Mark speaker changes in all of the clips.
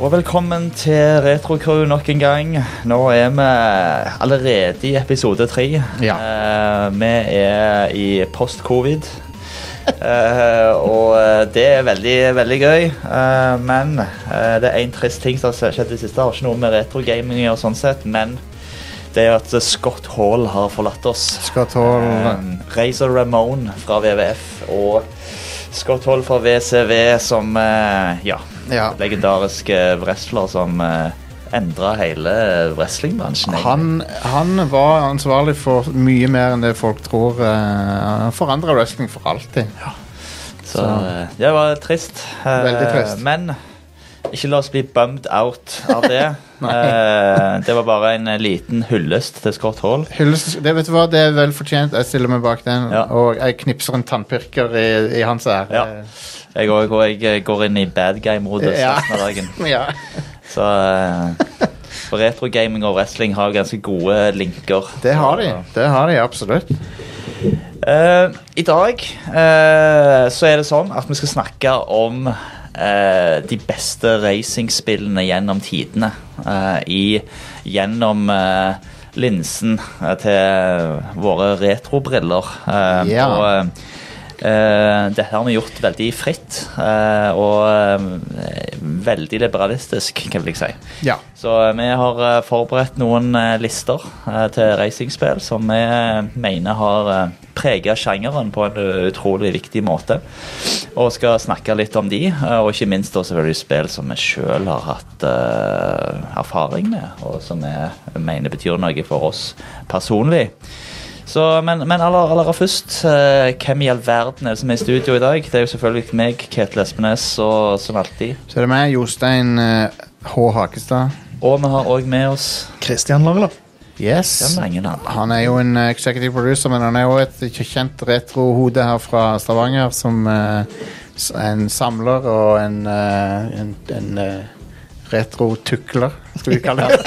Speaker 1: og velkommen til Retrocrew nok en gang. Nå er vi allerede i episode tre.
Speaker 2: Ja.
Speaker 1: Eh, vi er i post-covid. Eh, og eh, det er veldig, veldig gøy. Eh, men eh, det er en trist ting som har skjedd i det siste. Det har ikke noe med retrogaming å gjøre, sånn sett, men det er jo at Scott Hall har forlatt oss.
Speaker 2: Scott Hall.
Speaker 1: Eh, Razor Ramone fra WWF og Scott Hall fra WCW som eh, ja,
Speaker 2: Ja.
Speaker 1: legendarisk eh, wrestler som eh, endra hele eh, wrestlingbransjen. egentlig.
Speaker 2: Han, han var ansvarlig for mye mer enn det folk tror. eh, Han forandra wrestling for alltid.
Speaker 1: Så eh, det var trist. Eh,
Speaker 2: Veldig trist.
Speaker 1: Men ikke la oss bli bummed out av det. Eh, det var bare en eh, liten hyllest til Scott Hall.
Speaker 2: Hylles, det, vet du hva, det er vel fortjent. Jeg stiller meg bak den.
Speaker 1: Ja.
Speaker 2: Og jeg knipser en tannpirker i, i hans ære. Eh,
Speaker 1: Ja. Jeg, går- går- jeg eh, går inn i bad guy-modus
Speaker 2: Ja.
Speaker 1: resten av dagen.
Speaker 2: Ja.
Speaker 1: Så eh, for retrogaming og wrestling har ganske gode linker.
Speaker 2: Det har de. Det har de absolutt.
Speaker 1: Eh, I dag eh, så er det sånn at vi skal snakke om eh, de beste racingspillene gjennom tidene. eh, i Gjennom eh, linsen eh, til våre retrobriller. eh,
Speaker 2: Ja.
Speaker 1: Og eh, eh, dette har vi gjort veldig fritt eh, og eh, veldig liberalistisk, kan jeg vel si.
Speaker 2: Ja.
Speaker 1: Så eh, vi har eh, forberedt noen eh, lister eh, til racingspill som vi eh, mener har eh, preget sjangeren på en eh, utrolig viktig måte. Og skal snakke litt om de, eh, og ikke minst da selvfølgelig spill som vi selv har hatt eh, erfaring med, og som vi mener betyr noe for oss personlig. Så, men, men aller, aller først, eh, hvem i all verden er det som er i studio i dag? Det er jo selvfølgelig meg, Ketil Espenes, og som alltid.
Speaker 2: Så er det meg, Jostein eh, H. Hakestad.
Speaker 1: Og vi har òg med oss
Speaker 3: Christian Langland.
Speaker 2: Yes.
Speaker 1: Bjørn Langeland.
Speaker 2: Han er jo en eh, executive producer, men han er jo et kjent retrohode her fra Stavanger som eh, s- en samler og en, eh, en, en eh, retrotukler, skal vi kalle det.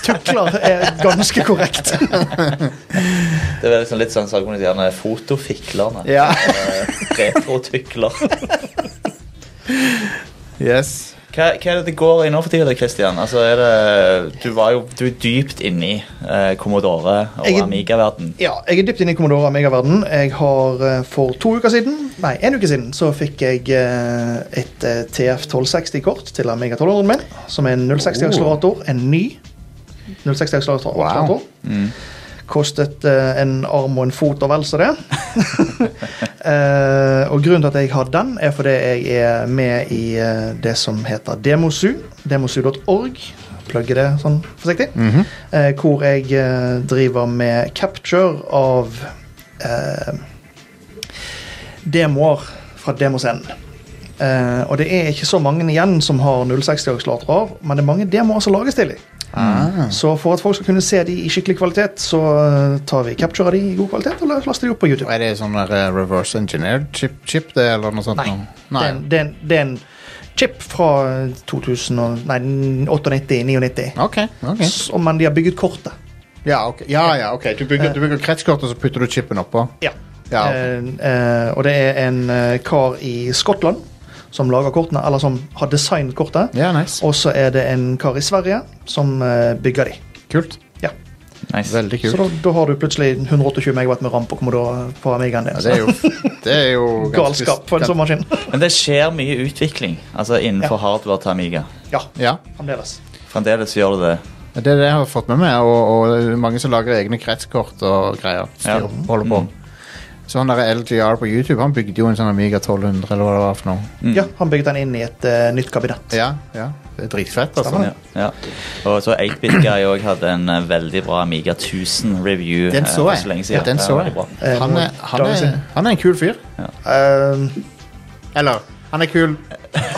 Speaker 3: Tukler er ganske korrekt.
Speaker 1: Det er liksom litt sånn sagmoniserende fotofiklerne.
Speaker 2: ja.
Speaker 1: Eh, Retrotukler. Hva,
Speaker 2: Yes.
Speaker 1: hva er det det går i nå for tida, da, Christian? Altså, er det, du var jo du er dypt inni eh, Commodore og
Speaker 3: Jeg er-
Speaker 1: Amiga-verden.
Speaker 3: Ja, jeg er dypt inne i Commodore Amiga-verden. Jeg har eh, for to uker siden, nei, en uke siden, så fikk jeg eh, et eh, TF 1260-kort til Amiga 1200-en min, som er en 060-akselerator. En ny 060-akselerator.
Speaker 2: Wow.
Speaker 3: akselerator.
Speaker 2: Mm.
Speaker 3: Kostet eh, en arm og en fot og vel så det. Eh, og grunnen til at jeg har den, er fordi jeg er med i eh, det som heter Demosu. Demosu.org. Plugger det sånn forsiktig.
Speaker 2: Mhm.
Speaker 3: Eh, hvor jeg eh, driver med capture av eh, demoer fra demoscenen. Eh, og det er ikke så mange igjen som har 060-akselerator av, men det er mange demoer som lages til dem.
Speaker 2: Ah.
Speaker 3: Så for at folk skal kunne se de i skikkelig kvalitet, så eh, tar vi capture av de i god kvalitet og la- laster de opp på YouTube.
Speaker 2: Og Er det sånn der, eh, reverse engineered chip, chip det, eller noe sånt?
Speaker 3: Nei.
Speaker 2: noe?
Speaker 3: Det er en- Det, er en, det er en chip fra 2000 og, nei, 98-99.
Speaker 2: Ok, ok.
Speaker 3: Men de har bygget kortet.
Speaker 2: Ja, ok. Ja, ja, ok. Du bygger, du bygger kretskort, og så putter du chipen oppå?
Speaker 3: Ja.
Speaker 2: Ja, ok.
Speaker 3: Eh, eh, og det er en eh, kar i Skottland som lager kortene, eller som har designet kortet.
Speaker 2: ja nice.
Speaker 3: Og så er det en kar i Sverige som eh, bygger de.
Speaker 2: Kult.
Speaker 3: Ja.
Speaker 1: Nice.
Speaker 2: Veldig
Speaker 3: Så
Speaker 2: kult.
Speaker 3: da, da har du plutselig 128 megawatt med ram på Commodore på Amigaen din.
Speaker 2: Ja, det er jo, det er jo ganske-
Speaker 3: Galskap for en sånn maskin.
Speaker 1: Men det skjer mye utvikling altså innenfor
Speaker 3: Ja.
Speaker 1: hardware til Amiga.
Speaker 3: Ja,
Speaker 2: Ja.
Speaker 3: fremdeles.
Speaker 1: Fremdeles gjør det det.
Speaker 2: Det er det jeg har fått med meg, og, og mange som lager egne kretskort og greier.
Speaker 1: Ja.
Speaker 2: styrer- holder på. Så han der LGR på YouTube, han bygde jo en sånn Amiga 1200, eller hva det var for noe.
Speaker 3: Ja, Han bygget den inn i et eh, nytt kabinett.
Speaker 2: Mm. Ja, ja. Det er dritfett, altså.
Speaker 3: Stemmer
Speaker 1: Ja. Sånn, Ja. Og så 8-bit-guy òg hadde en eh, veldig bra Amiga 1000-review.
Speaker 2: Den så
Speaker 1: Så lenge
Speaker 2: jeg.
Speaker 1: siden.
Speaker 2: Den
Speaker 1: Det
Speaker 2: så
Speaker 1: var
Speaker 2: jeg.
Speaker 1: veldig bra.
Speaker 3: Eh,
Speaker 2: Han er, han
Speaker 3: dagen
Speaker 2: er,
Speaker 3: siden.
Speaker 2: han er en kul fyr.
Speaker 3: Eh,
Speaker 2: Eller, han er kul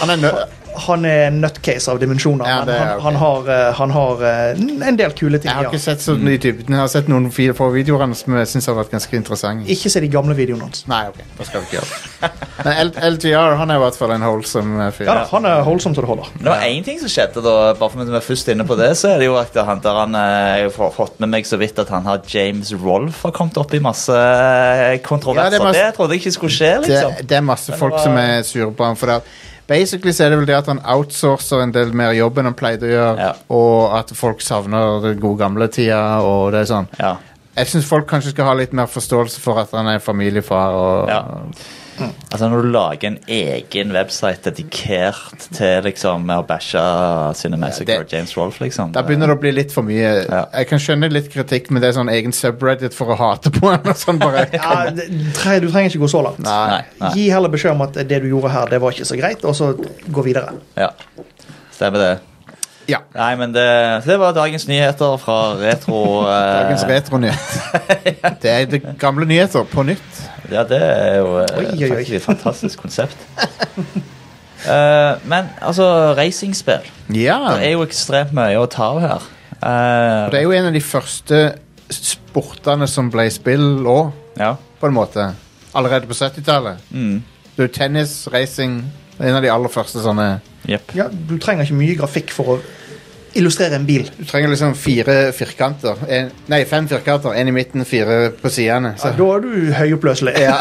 Speaker 2: Han er nø...
Speaker 3: Han er en nutcase av dimensjoner.
Speaker 2: Ja,
Speaker 3: men
Speaker 2: det er
Speaker 3: han,
Speaker 2: ok.
Speaker 3: han har, eh, han har eh, n- en del kule ting.
Speaker 2: Jeg har
Speaker 3: ja.
Speaker 2: ikke sett så mye i dybden. Jeg har sett noen fi- få videoer hans som jeg syns har vært ganske interessante.
Speaker 3: Ikke se de gamle videoene hans.
Speaker 2: Nei, ok, da skal vi ikke gjøre det. Men L LGR, han er i hvert fall en eh, holdsom fyr.
Speaker 3: Ja da, Han er holdsom som det holder.
Speaker 1: Det var én ting som skjedde, da, bare for at vi er først inne på det, så er det jo at han der han eh, Jeg har fått med meg så vidt at han har James Rolfe har kommet opp i masse eh,
Speaker 2: Ja, det
Speaker 1: kontroverser.
Speaker 2: er masse-
Speaker 1: det, trodde jeg ikke skulle skje, liksom.
Speaker 2: det, det er masse
Speaker 1: Men
Speaker 2: folk
Speaker 1: hva-
Speaker 2: som er sure på ham. For det, at Basically så er det vel det at han outsourcer en del mer jobb enn han pleide å gjøre,
Speaker 1: Ja.
Speaker 2: og at folk savner den gode gamle tida, og det er sånn.
Speaker 1: Ja.
Speaker 2: Jeg syns folk kanskje skal ha litt mer forståelse for at han er familiefar og
Speaker 1: Ja. Altså Når du lager en egen website dedikert til liksom å bæsje Cinematic
Speaker 2: Ja, det-
Speaker 1: og James Rolfe, liksom
Speaker 2: Da begynner det å bli litt for mye.
Speaker 1: Ja.
Speaker 2: Jeg kan skjønne litt kritikk, men det er sånn egen subreddit for å hate på han. og sånn bare.
Speaker 3: Ja, Eh, det, tre- du trenger ikke gå så langt.
Speaker 2: Nei.
Speaker 1: Nei, nei.
Speaker 3: Gi heller beskjed om at det du gjorde her, det var ikke så greit, og så gå videre.
Speaker 1: Ja. Stemmer det.
Speaker 2: Ja.
Speaker 1: Nei, men det, det var dagens nyheter fra retro. eh,
Speaker 2: Dagens retronyhet. Det er det gamle nyheter på nytt.
Speaker 1: Ja, det er jo eh,
Speaker 3: Oi, oi, oi.
Speaker 1: faktisk et fantastisk konsept. Eh, men altså, racingspill
Speaker 2: Ja.
Speaker 1: Det er jo ekstremt mye å ta av her. Eh,
Speaker 2: Det er jo en av de første sportene som ble spill òg,
Speaker 1: ja.
Speaker 2: på en måte. Allerede på 70-tallet.
Speaker 1: Mm.
Speaker 2: Du, tennis, racing En av de aller første sånne
Speaker 1: Jepp.
Speaker 3: Ja, du trenger ikke mye grafikk for å illustrere en bil.
Speaker 2: Du trenger liksom fire firkanter. En, nei, fem firkanter. Én i midten, fire på sidene.
Speaker 3: Ja,
Speaker 2: Så-
Speaker 3: da er du høyoppløselig.
Speaker 2: Ja.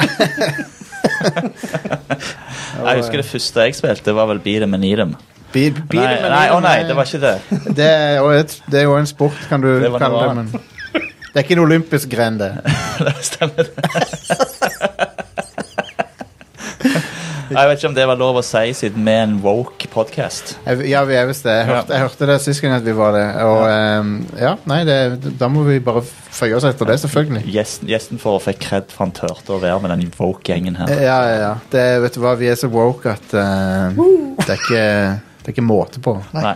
Speaker 1: Jeg husker det første jeg spilte, var vel Beat 'em and Eat 'em.
Speaker 2: Bi- bi-
Speaker 1: Nei, nei, å nei,
Speaker 2: eh.
Speaker 1: det var ikke det.
Speaker 2: Det er jo et- det er jo en sport, kan du
Speaker 1: Det var
Speaker 2: kalle
Speaker 1: noe
Speaker 2: det. Men det er ikke en olympisk gren, det.
Speaker 1: Det Stemmer det. Jeg vet ikke om det var lov å si siden vi er en woke podcast.
Speaker 2: Jeg- Ja, vi er visst det. Jeg hørte, jeg hørte det sist gang at vi var det. Og ehm, ja, nei, det, da må vi bare føye oss etter det, selvfølgelig.
Speaker 1: Gjesten, gjesten for fikk kred for han turte å være med den woke-gjengen her.
Speaker 2: Ja, ja, ja. Det, vet du hva, vi er så woke at eh, det, er ikke, det er ikke måte på.
Speaker 1: Nei.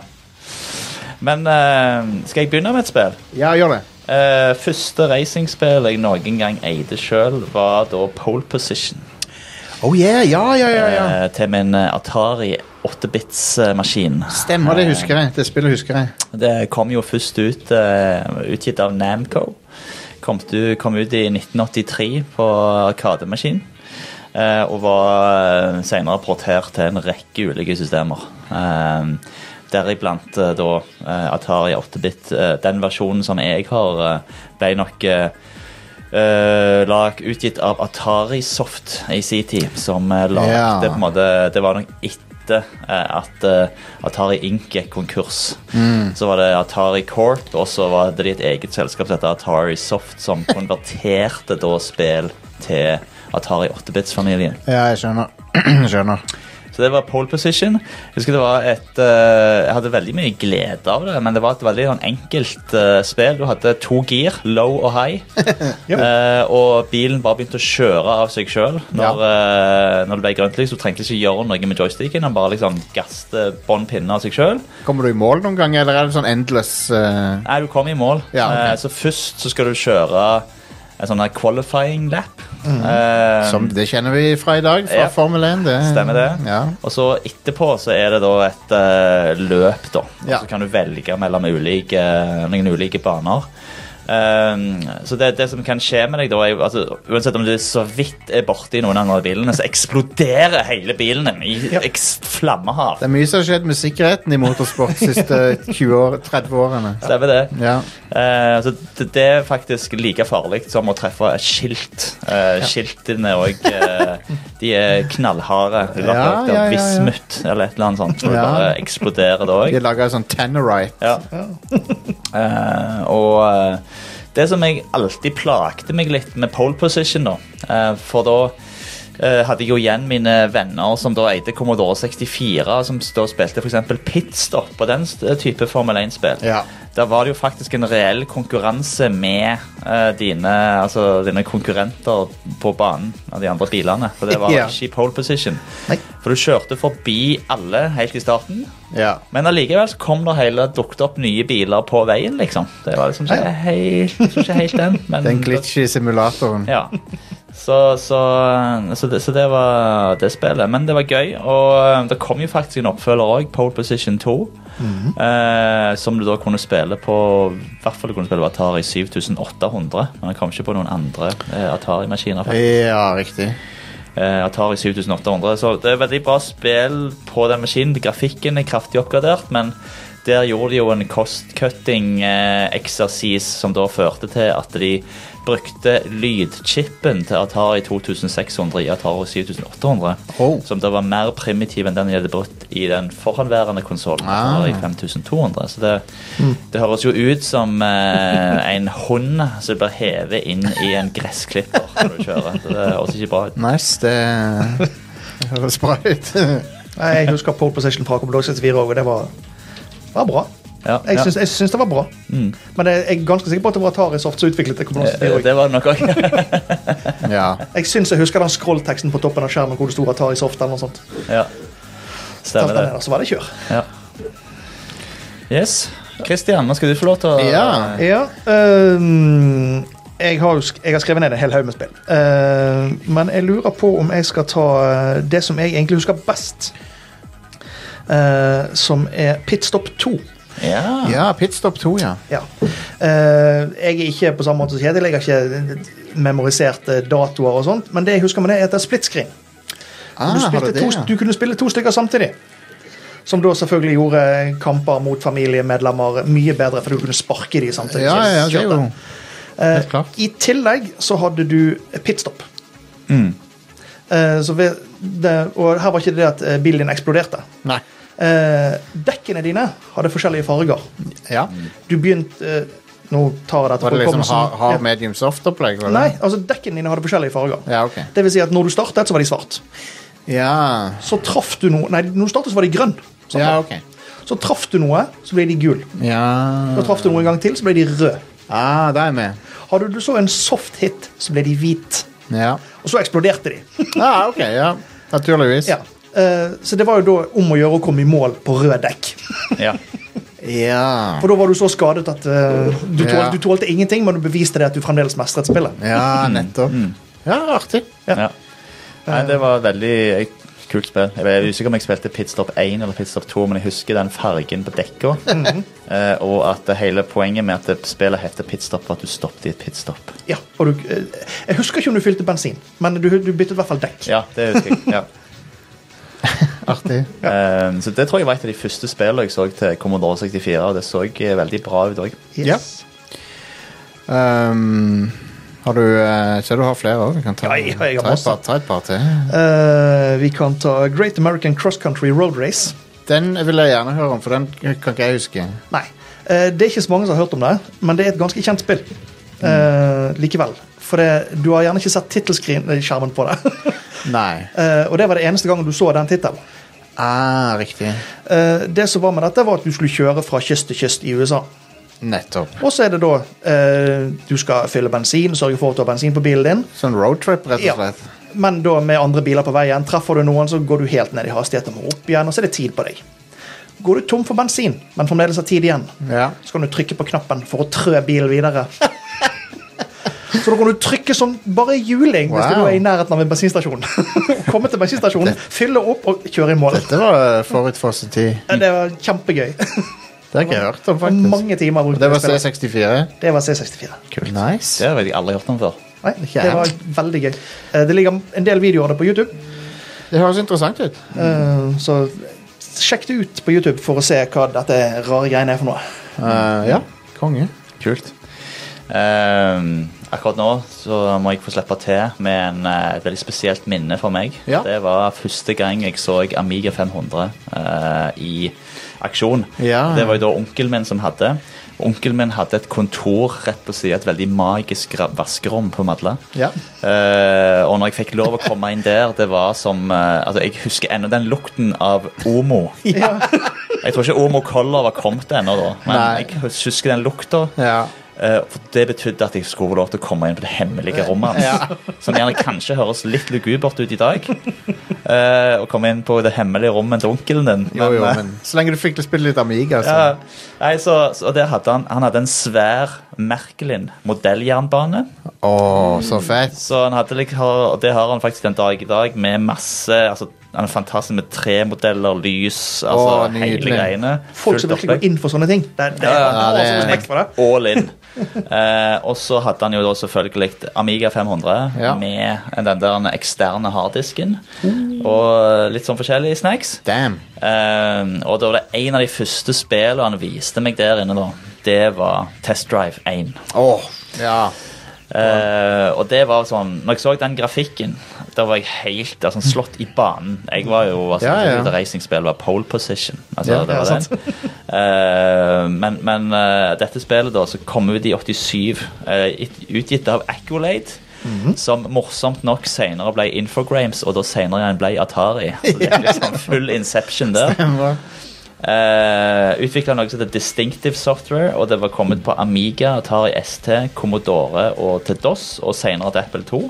Speaker 1: Men eh, skal jeg begynne med et spill?
Speaker 2: Ja, gjør det.
Speaker 1: Eh, første racingspill jeg noen gang eide sjøl, var da Pole Position.
Speaker 2: Oh yeah, ja, ja, ja, ja.
Speaker 1: eh, til min eh, Atari 8-bits-maskin.
Speaker 2: Stemmer, det husker jeg. Det spillet husker jeg.
Speaker 1: Det kom jo først ut, eh, utgitt av Namco. Kom, du, kom ut i 1983 på Arkademaskin. eh, og var eh, senere portert til en rekke ulike systemer. Eh, Deriblant eh, da eh, Atari 8-bit. Eh, den versjonen som jeg har, eh, ble nok eh, eh, lag, utgitt av Atari Soft i sin tid, som eh, lagde
Speaker 2: Ja.
Speaker 1: på en måte Det var nok etter eh, at eh, Atari Inc. gikk konkurs. Så var det Atari Corp, og så var det et eget selskap som heter Atari Soft, som konverterte da spill til Atari 8-bits-familien.
Speaker 2: Ja, jeg skjønner. skjønner.
Speaker 1: Så det var pole position. Jeg husker det var et eh, Jeg hadde veldig mye glede av det, men det var et veldig sånn enkelt eh, spill. Du hadde to gir, low og high,
Speaker 3: Ja.
Speaker 1: Eh, og bilen bare begynte å kjøre av seg sjøl. Når, eh, når det ble grønt lys, så trengte du ikke gjøre noe med joysticken. Han bare liksom gasste bånn pinne av seg sjøl.
Speaker 2: Kommer du i mål noen ganger, eller er det sånn endless eh,
Speaker 1: Nei, du kom i mål.
Speaker 2: Ja, ok.
Speaker 1: Eh, så først så skal du kjøre en sånn her qualifying lap.
Speaker 2: Mhm.
Speaker 1: Eh,
Speaker 2: Som det kjenner vi fra i dag, fra
Speaker 1: Ja.
Speaker 2: Formel 1. Det,
Speaker 1: Stemmer det.
Speaker 2: Ja.
Speaker 1: Og så etterpå så er det da et eh, løp, da. Og
Speaker 2: Ja.
Speaker 1: Så kan du velge mellom ulike, eh, noen ulike baner. Ehm, så det, det som kan skje med deg, da er, jo- altså, uansett om du så vidt er borti noen av de bilene, så eksploderer hele bilen din i
Speaker 3: Ja.
Speaker 1: eks- flammehav.
Speaker 2: Det er mye som har skjedd med sikkerheten i motorsport de siste 20 år, 30 årene.
Speaker 1: Stemmer det?
Speaker 2: Ja.
Speaker 1: Eh, så det, det er faktisk like farlig som å treffe et skilt. Eh, Skiltene òg De er knallharde.
Speaker 2: Ja, ja, ja, ja.
Speaker 1: Vismut eller et eller annet sånt. Hvor det
Speaker 2: Ja.
Speaker 1: bare eksploderer, det òg.
Speaker 2: De laga sånn Tannerite.
Speaker 1: Ja. Eh, og eh, det som jeg alltid plagde meg litt med pole position, da eh, For da eh, hadde jeg jo igjen mine venner som da eide Commodore 64, som da spilte f.eks. pitstop og den s- eh, type Formel 1-spill.
Speaker 2: Ja.
Speaker 1: Der var det jo faktisk en reell konkurranse med eh, dine, altså, dine konkurrenter på banen av de andre bilene. For det var
Speaker 2: Ja.
Speaker 1: ikke i pole position.
Speaker 2: Nei.
Speaker 1: For du kjørte forbi alle helt i starten.
Speaker 2: Ja.
Speaker 1: Men allikevel så kom det hele dukket opp nye biler på veien, liksom. Det var liksom ikke helt, liksom ikke helt den. Men
Speaker 2: Den glitch i simulatoren.
Speaker 1: ja. Så, så, så, det, så det var det spillet. Men det var gøy. Og eh, det kom jo faktisk en oppfølger òg, Pole Position 2. eh, som du da kunne spille på I hvert fall du kunne spille på Atari 7800. Men det kom ikke på noen andre eh, Atari-maskiner. faktisk.
Speaker 2: Ja, riktig.
Speaker 1: Eh, Atari 7800. Så det er veldig bra spill på den maskinen. Grafikken er kraftig oppgradert, men der gjorde de jo en cost-cutting-eksersis som da førte til at de brukte lydchipen til Atari 2600 i Atari 7800.
Speaker 2: Oh.
Speaker 1: Som da var mer primitiv enn den de hadde brukt i den foranværende konsollen.
Speaker 2: Ah. Hmm.
Speaker 1: Atari 5200. Så det, det høres jo ut som eh, en hund som blir hevet inn i en gressklipper når du kjører. Så det høres ikke bra ut.
Speaker 2: Nice, det det høres bra ut.
Speaker 3: Nei, jeg husker Pole Position fra Commodore 64 også, og det var, var bra.
Speaker 1: Ja,
Speaker 3: Jeg
Speaker 1: ja. Mm.
Speaker 3: syns, jeg syns det var bra. Men jeg, jeg er ganske sikker på at det var Atari Soft som utviklet det. Commodore 64
Speaker 1: Eh,
Speaker 3: også.
Speaker 1: Det var det nok òg.
Speaker 2: Ja.
Speaker 3: Jeg syns jeg husker den scrollteksten på toppen av skjermen hvor det sto Atari Soft. eller noe sånt.
Speaker 1: ja.
Speaker 3: Tastet
Speaker 1: Stemmer
Speaker 3: ned,
Speaker 1: det.
Speaker 3: og så var det kjør.
Speaker 1: Ja. Yes. Christian, nå skal du få lov til å
Speaker 2: Ja.
Speaker 3: Ja, øhm, jeg, har, jo sk- jeg har skrevet ned en hel haug med spill. Øhm, men jeg lurer på om jeg skal ta øh, det som jeg egentlig husker best. øh, som er Pitstop 2.
Speaker 1: Ja.
Speaker 2: ja, Pitstop 2, ja.
Speaker 3: Ja. Eh, jeg er ikke på samme måte som Kjetil, jeg har ikke eh, memorisert eh, datoer og sånt, men det jeg husker med det, er at det er split screen.
Speaker 2: Ah, har
Speaker 3: du,
Speaker 2: du
Speaker 3: spilte
Speaker 2: det,
Speaker 3: to,
Speaker 2: ja?
Speaker 3: du kunne spille to stykker samtidig. Som da selvfølgelig gjorde eh, kamper mot familiemedlemmer mye bedre, for du kunne sparke de samtidig.
Speaker 2: Ja, ja,
Speaker 3: som
Speaker 2: det er jo
Speaker 3: kjørte.
Speaker 2: helt klart.
Speaker 3: Eh, I tillegg så hadde du pitstop.
Speaker 1: Mm.
Speaker 3: Eh, så ved, det, og her var ikke det at eh, bilen din eksploderte.
Speaker 2: Nei.
Speaker 3: Eh, dekkene dine hadde forskjellige farger.
Speaker 2: Ja.
Speaker 3: Du begynte eh, Nå tar jeg dette
Speaker 2: Var det liksom
Speaker 3: hukommelsen.
Speaker 2: hard,
Speaker 3: Ja.
Speaker 2: hard medium soft-opplegg? var det?
Speaker 3: Nei, altså dekkene dine hadde forskjellige farger.
Speaker 2: Ja, ok.
Speaker 3: Det vil si at når du startet, så var de svart.
Speaker 2: Ja,
Speaker 3: Så traff du noe Nei, når du startet, så var de grønn. Sånn.
Speaker 2: ja ok.
Speaker 3: Så traff du noe, så ble de gul.
Speaker 2: Ja
Speaker 3: Så traff du noe en gang til, så ble de rød.
Speaker 2: ah, Da er jeg med.
Speaker 3: Hadde du så en soft hit, så ble de hvit.
Speaker 2: Ja.
Speaker 3: Og så eksploderte de.
Speaker 2: Ah, ok, ja. Naturligvis.
Speaker 3: ja. Eh, så det var jo da om å gjøre å komme i mål på rød dekk.
Speaker 1: Ja.
Speaker 2: Ja.
Speaker 3: For da var du så skadet at eh, du, tålte,
Speaker 2: Ja.
Speaker 3: du tålte ingenting, men du beviste det at du fremdeles mestret spillet.
Speaker 2: ja, nettopp. Mm. Ja, artig.
Speaker 1: ja. Nei, det var veldig eh, kult spill. Jeg er usikker om jeg spilte Pitstop 1 eller Pitstop 2, men jeg husker den fargen på dekka. Eh, og at det hele poenget med at det spillet heter Pitstop, var at du stoppet i et pitstop.
Speaker 3: Ja, og du, eh, jeg husker ikke om du fylte bensin, men du, du byttet i hvert fall dekk.
Speaker 1: Ja, det husker jeg. Ja.
Speaker 2: Artig.
Speaker 1: Eh, så det tror jeg var et av de første spillene jeg så til Commodore 64, og det så eh, veldig bra ut òg.
Speaker 2: Ja. Um, har du eh, Ser du har flere òg? Vi kan ta,
Speaker 3: Ja, jeg- jeg har
Speaker 2: ta, et
Speaker 3: masse.
Speaker 2: par, ta et par til.
Speaker 3: Eh, vi kan ta Great American Cross Country Road Race.
Speaker 2: Den vil jeg gjerne høre om, for den kan ikke jeg huske.
Speaker 3: Nei, eh, det er ikke så mange som har hørt om det, men det er et ganske kjent spill.
Speaker 2: Mm.
Speaker 3: Eh, likevel. For det, du har gjerne ikke sett tittelskjermen på det.
Speaker 2: Nei.
Speaker 3: Eh, og det var det eneste gangen du så den tittelen.
Speaker 2: Ah, riktig.
Speaker 3: Eh, det som var med dette, var at du skulle kjøre fra kyst til kyst i USA.
Speaker 2: Nettopp.
Speaker 3: Og så er det da eh, du skal fylle bensin, sørge for at du har bensin på bilen din.
Speaker 2: Sånn roadtrip, rett
Speaker 3: Ja.
Speaker 2: og slett.
Speaker 3: Men da med andre biler på veien, treffer du noen, så går du helt ned i hastigheten og må opp igjen, og så er det tid på deg. Går du tom for bensin, men fremdeles har tid igjen,
Speaker 2: Ja.
Speaker 3: så kan du trykke på knappen for å trø bilen videre. Så da kan du trykke som bare juling hvis du
Speaker 2: Wow.
Speaker 3: da er i nærheten av en bensinstasjon. Komme til bensinstasjonen, fylle opp og kjøre i mål.
Speaker 2: Dette var eh, forut for sin tid.
Speaker 3: Det var kjempegøy.
Speaker 2: Det har jeg ikke hørt om,
Speaker 3: Og
Speaker 2: faktisk.
Speaker 3: Mange timer brukte
Speaker 2: Det var
Speaker 3: på det spillet.
Speaker 2: C64.
Speaker 3: Det var C64.
Speaker 1: Det
Speaker 2: Nice.
Speaker 1: har jeg aldri hørt om før.
Speaker 3: Nei,
Speaker 2: Ikke
Speaker 3: det var veldig gøy. Eh, Det ligger en del videoer av det på YouTube.
Speaker 2: Det høres interessant ut.
Speaker 3: Eh, Så sjekk det ut på YouTube for å se hva dette rare greiene er for noe.
Speaker 2: Eh, ja. Konge.
Speaker 1: Kult. Ehm, akkurat nå så må jeg få slippe til med en, eh, et veldig spesielt minne for meg.
Speaker 2: Ja.
Speaker 1: Det var første gang jeg så Amiga 500 eh, i aksjon.
Speaker 2: Ja.
Speaker 1: Det var jo da onkelen min som hadde. Onkelen min hadde et kontor rett på siden, av et veldig magisk ra- vaskerom på Madla.
Speaker 2: Ja.
Speaker 1: Eh, og når jeg fikk lov å komme inn der, det var som eh, altså Jeg husker ennå den lukten av Omo. Jeg tror ikke Omo Color var kommet ennå, da. Men
Speaker 2: Nei.
Speaker 1: jeg husker den lukta.
Speaker 2: Ja.
Speaker 1: Eh, for Det betydde at jeg skulle få lov til å komme inn på det hemmelige rommet hans. Som gjerne kanskje høres litt lugubert ut i dag. eh, Å komme inn på det hemmelige rommet til onkelen din.
Speaker 2: Jo, jo,
Speaker 1: eh,
Speaker 2: men så lenge du fikk spille litt Amiga, så
Speaker 1: ja, nei, så, så der hadde han, han hadde en svær Merkelin modelljernbane.
Speaker 2: Å, så fett.
Speaker 1: Så han hadde, lik- har- og det har han faktisk den dag i dag, med masse altså, Den er fantastisk med tre modeller, lys, altså
Speaker 2: Å,
Speaker 1: hele
Speaker 2: nydelig.
Speaker 1: greiene.
Speaker 3: Folk som
Speaker 1: Fullt
Speaker 3: virkelig
Speaker 1: opplegg.
Speaker 3: går inn for sånne ting. Det, det,
Speaker 1: Ja, ja,
Speaker 3: man har
Speaker 2: det-
Speaker 3: sånn respekt for det.
Speaker 1: All in. Eh, og så hadde han jo da selvfølgelig Amiga 500
Speaker 2: Ja.
Speaker 1: med den der eksterne harddisken. Og litt sånn forskjellige snacks.
Speaker 2: Damn.
Speaker 1: Eh, og da var det en av de første spillene han viste meg der inne, da. Det var Test Drive 1.
Speaker 2: Åh, ja.
Speaker 1: Eh, og det var sånn Når jeg så den grafikken, da var jeg helt altså, slått i banen. Jeg var jo altså,
Speaker 2: Ja, ja.
Speaker 1: det Racingspill var pole position. Altså,
Speaker 2: Ja,
Speaker 1: det var
Speaker 2: ja,
Speaker 1: den. Eh, men men eh, dette spillet da som kom ut i 87, eh, it- utgitt av Accolade.
Speaker 2: Mhm.
Speaker 1: Som morsomt nok senere ble Infogrames, og da senere igjen ble Atari. Så det er liksom full inception der.
Speaker 2: Hva?
Speaker 1: Uh, Utvikla noe som heter Distinctive Software, og det var kommet på Amiga, Atari ST, Commodore og til DOS, og senere til Apple 2.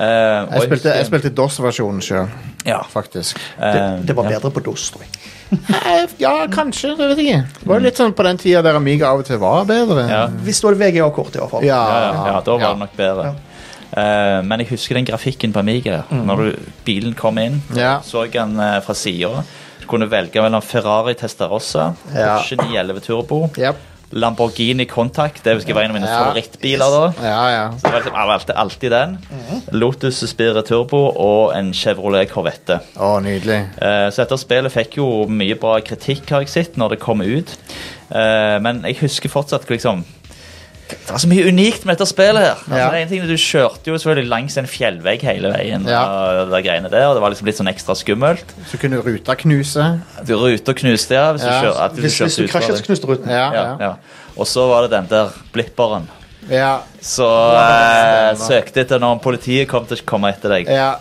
Speaker 2: Jeg spilte, jeg spilte DOS-versjonen sjøl,
Speaker 1: Ja.
Speaker 2: faktisk.
Speaker 3: Det,
Speaker 1: eh,
Speaker 3: det var
Speaker 1: ja.
Speaker 3: bedre på DOS, tror jeg.
Speaker 2: Nei, Ja, kanskje. Det vet jeg ikke. Det var jo litt sånn på den tida der Amiga av og til var bedre.
Speaker 1: Ja.
Speaker 3: Hvis du hadde VGA-kort, i hvert fall.
Speaker 2: Ja,
Speaker 1: Ja, ja, ja, da var
Speaker 2: ja. Mm.
Speaker 1: det nok bedre. Eh, men jeg husker den grafikken på Amiga. Når du, bilen kom inn,
Speaker 2: Ja.
Speaker 1: så jeg den eh, fra sida. Du kunne velge mellom Ferrari Testarossa,
Speaker 2: Ja.
Speaker 1: Porschen 11 Turbo,
Speaker 2: Yep.
Speaker 1: Lamborghini Contact. Det husker jeg var en av mine
Speaker 2: Ja.
Speaker 1: favorittbiler da.
Speaker 2: Ja, ja.
Speaker 1: Så det var liksom, jeg valgte alltid den. Lotus Spirit Turbo og en Chevrolet Corvette.
Speaker 2: Å, nydelig.
Speaker 1: Eh, Så dette spillet fikk jo mye bra kritikk har jeg sett når det kom ut. Eh, Men jeg husker fortsatt liksom Det var så mye unikt med dette spillet her. Altså,
Speaker 2: Ja.
Speaker 1: det er en ting, Du kjørte jo selvfølgelig langs en fjellvegg hele veien.
Speaker 2: Ja.
Speaker 1: Og det, der greiene der, og det var liksom litt sånn ekstra skummelt.
Speaker 2: Så kunne ruta knuse.
Speaker 1: Du Ruter knuste, ja. Hvis
Speaker 2: Ja.
Speaker 1: du, kjør, at du
Speaker 3: Hvis,
Speaker 1: kjørte
Speaker 3: hvis du
Speaker 1: ut fra
Speaker 3: krasjet,
Speaker 1: det.
Speaker 3: så knuste ruten.
Speaker 2: Ja,
Speaker 1: ja, ja. Og så var det den der blipperen.
Speaker 2: ja.
Speaker 1: Så eh, søkte etter når politiet kom til å komme etter deg.
Speaker 2: ja.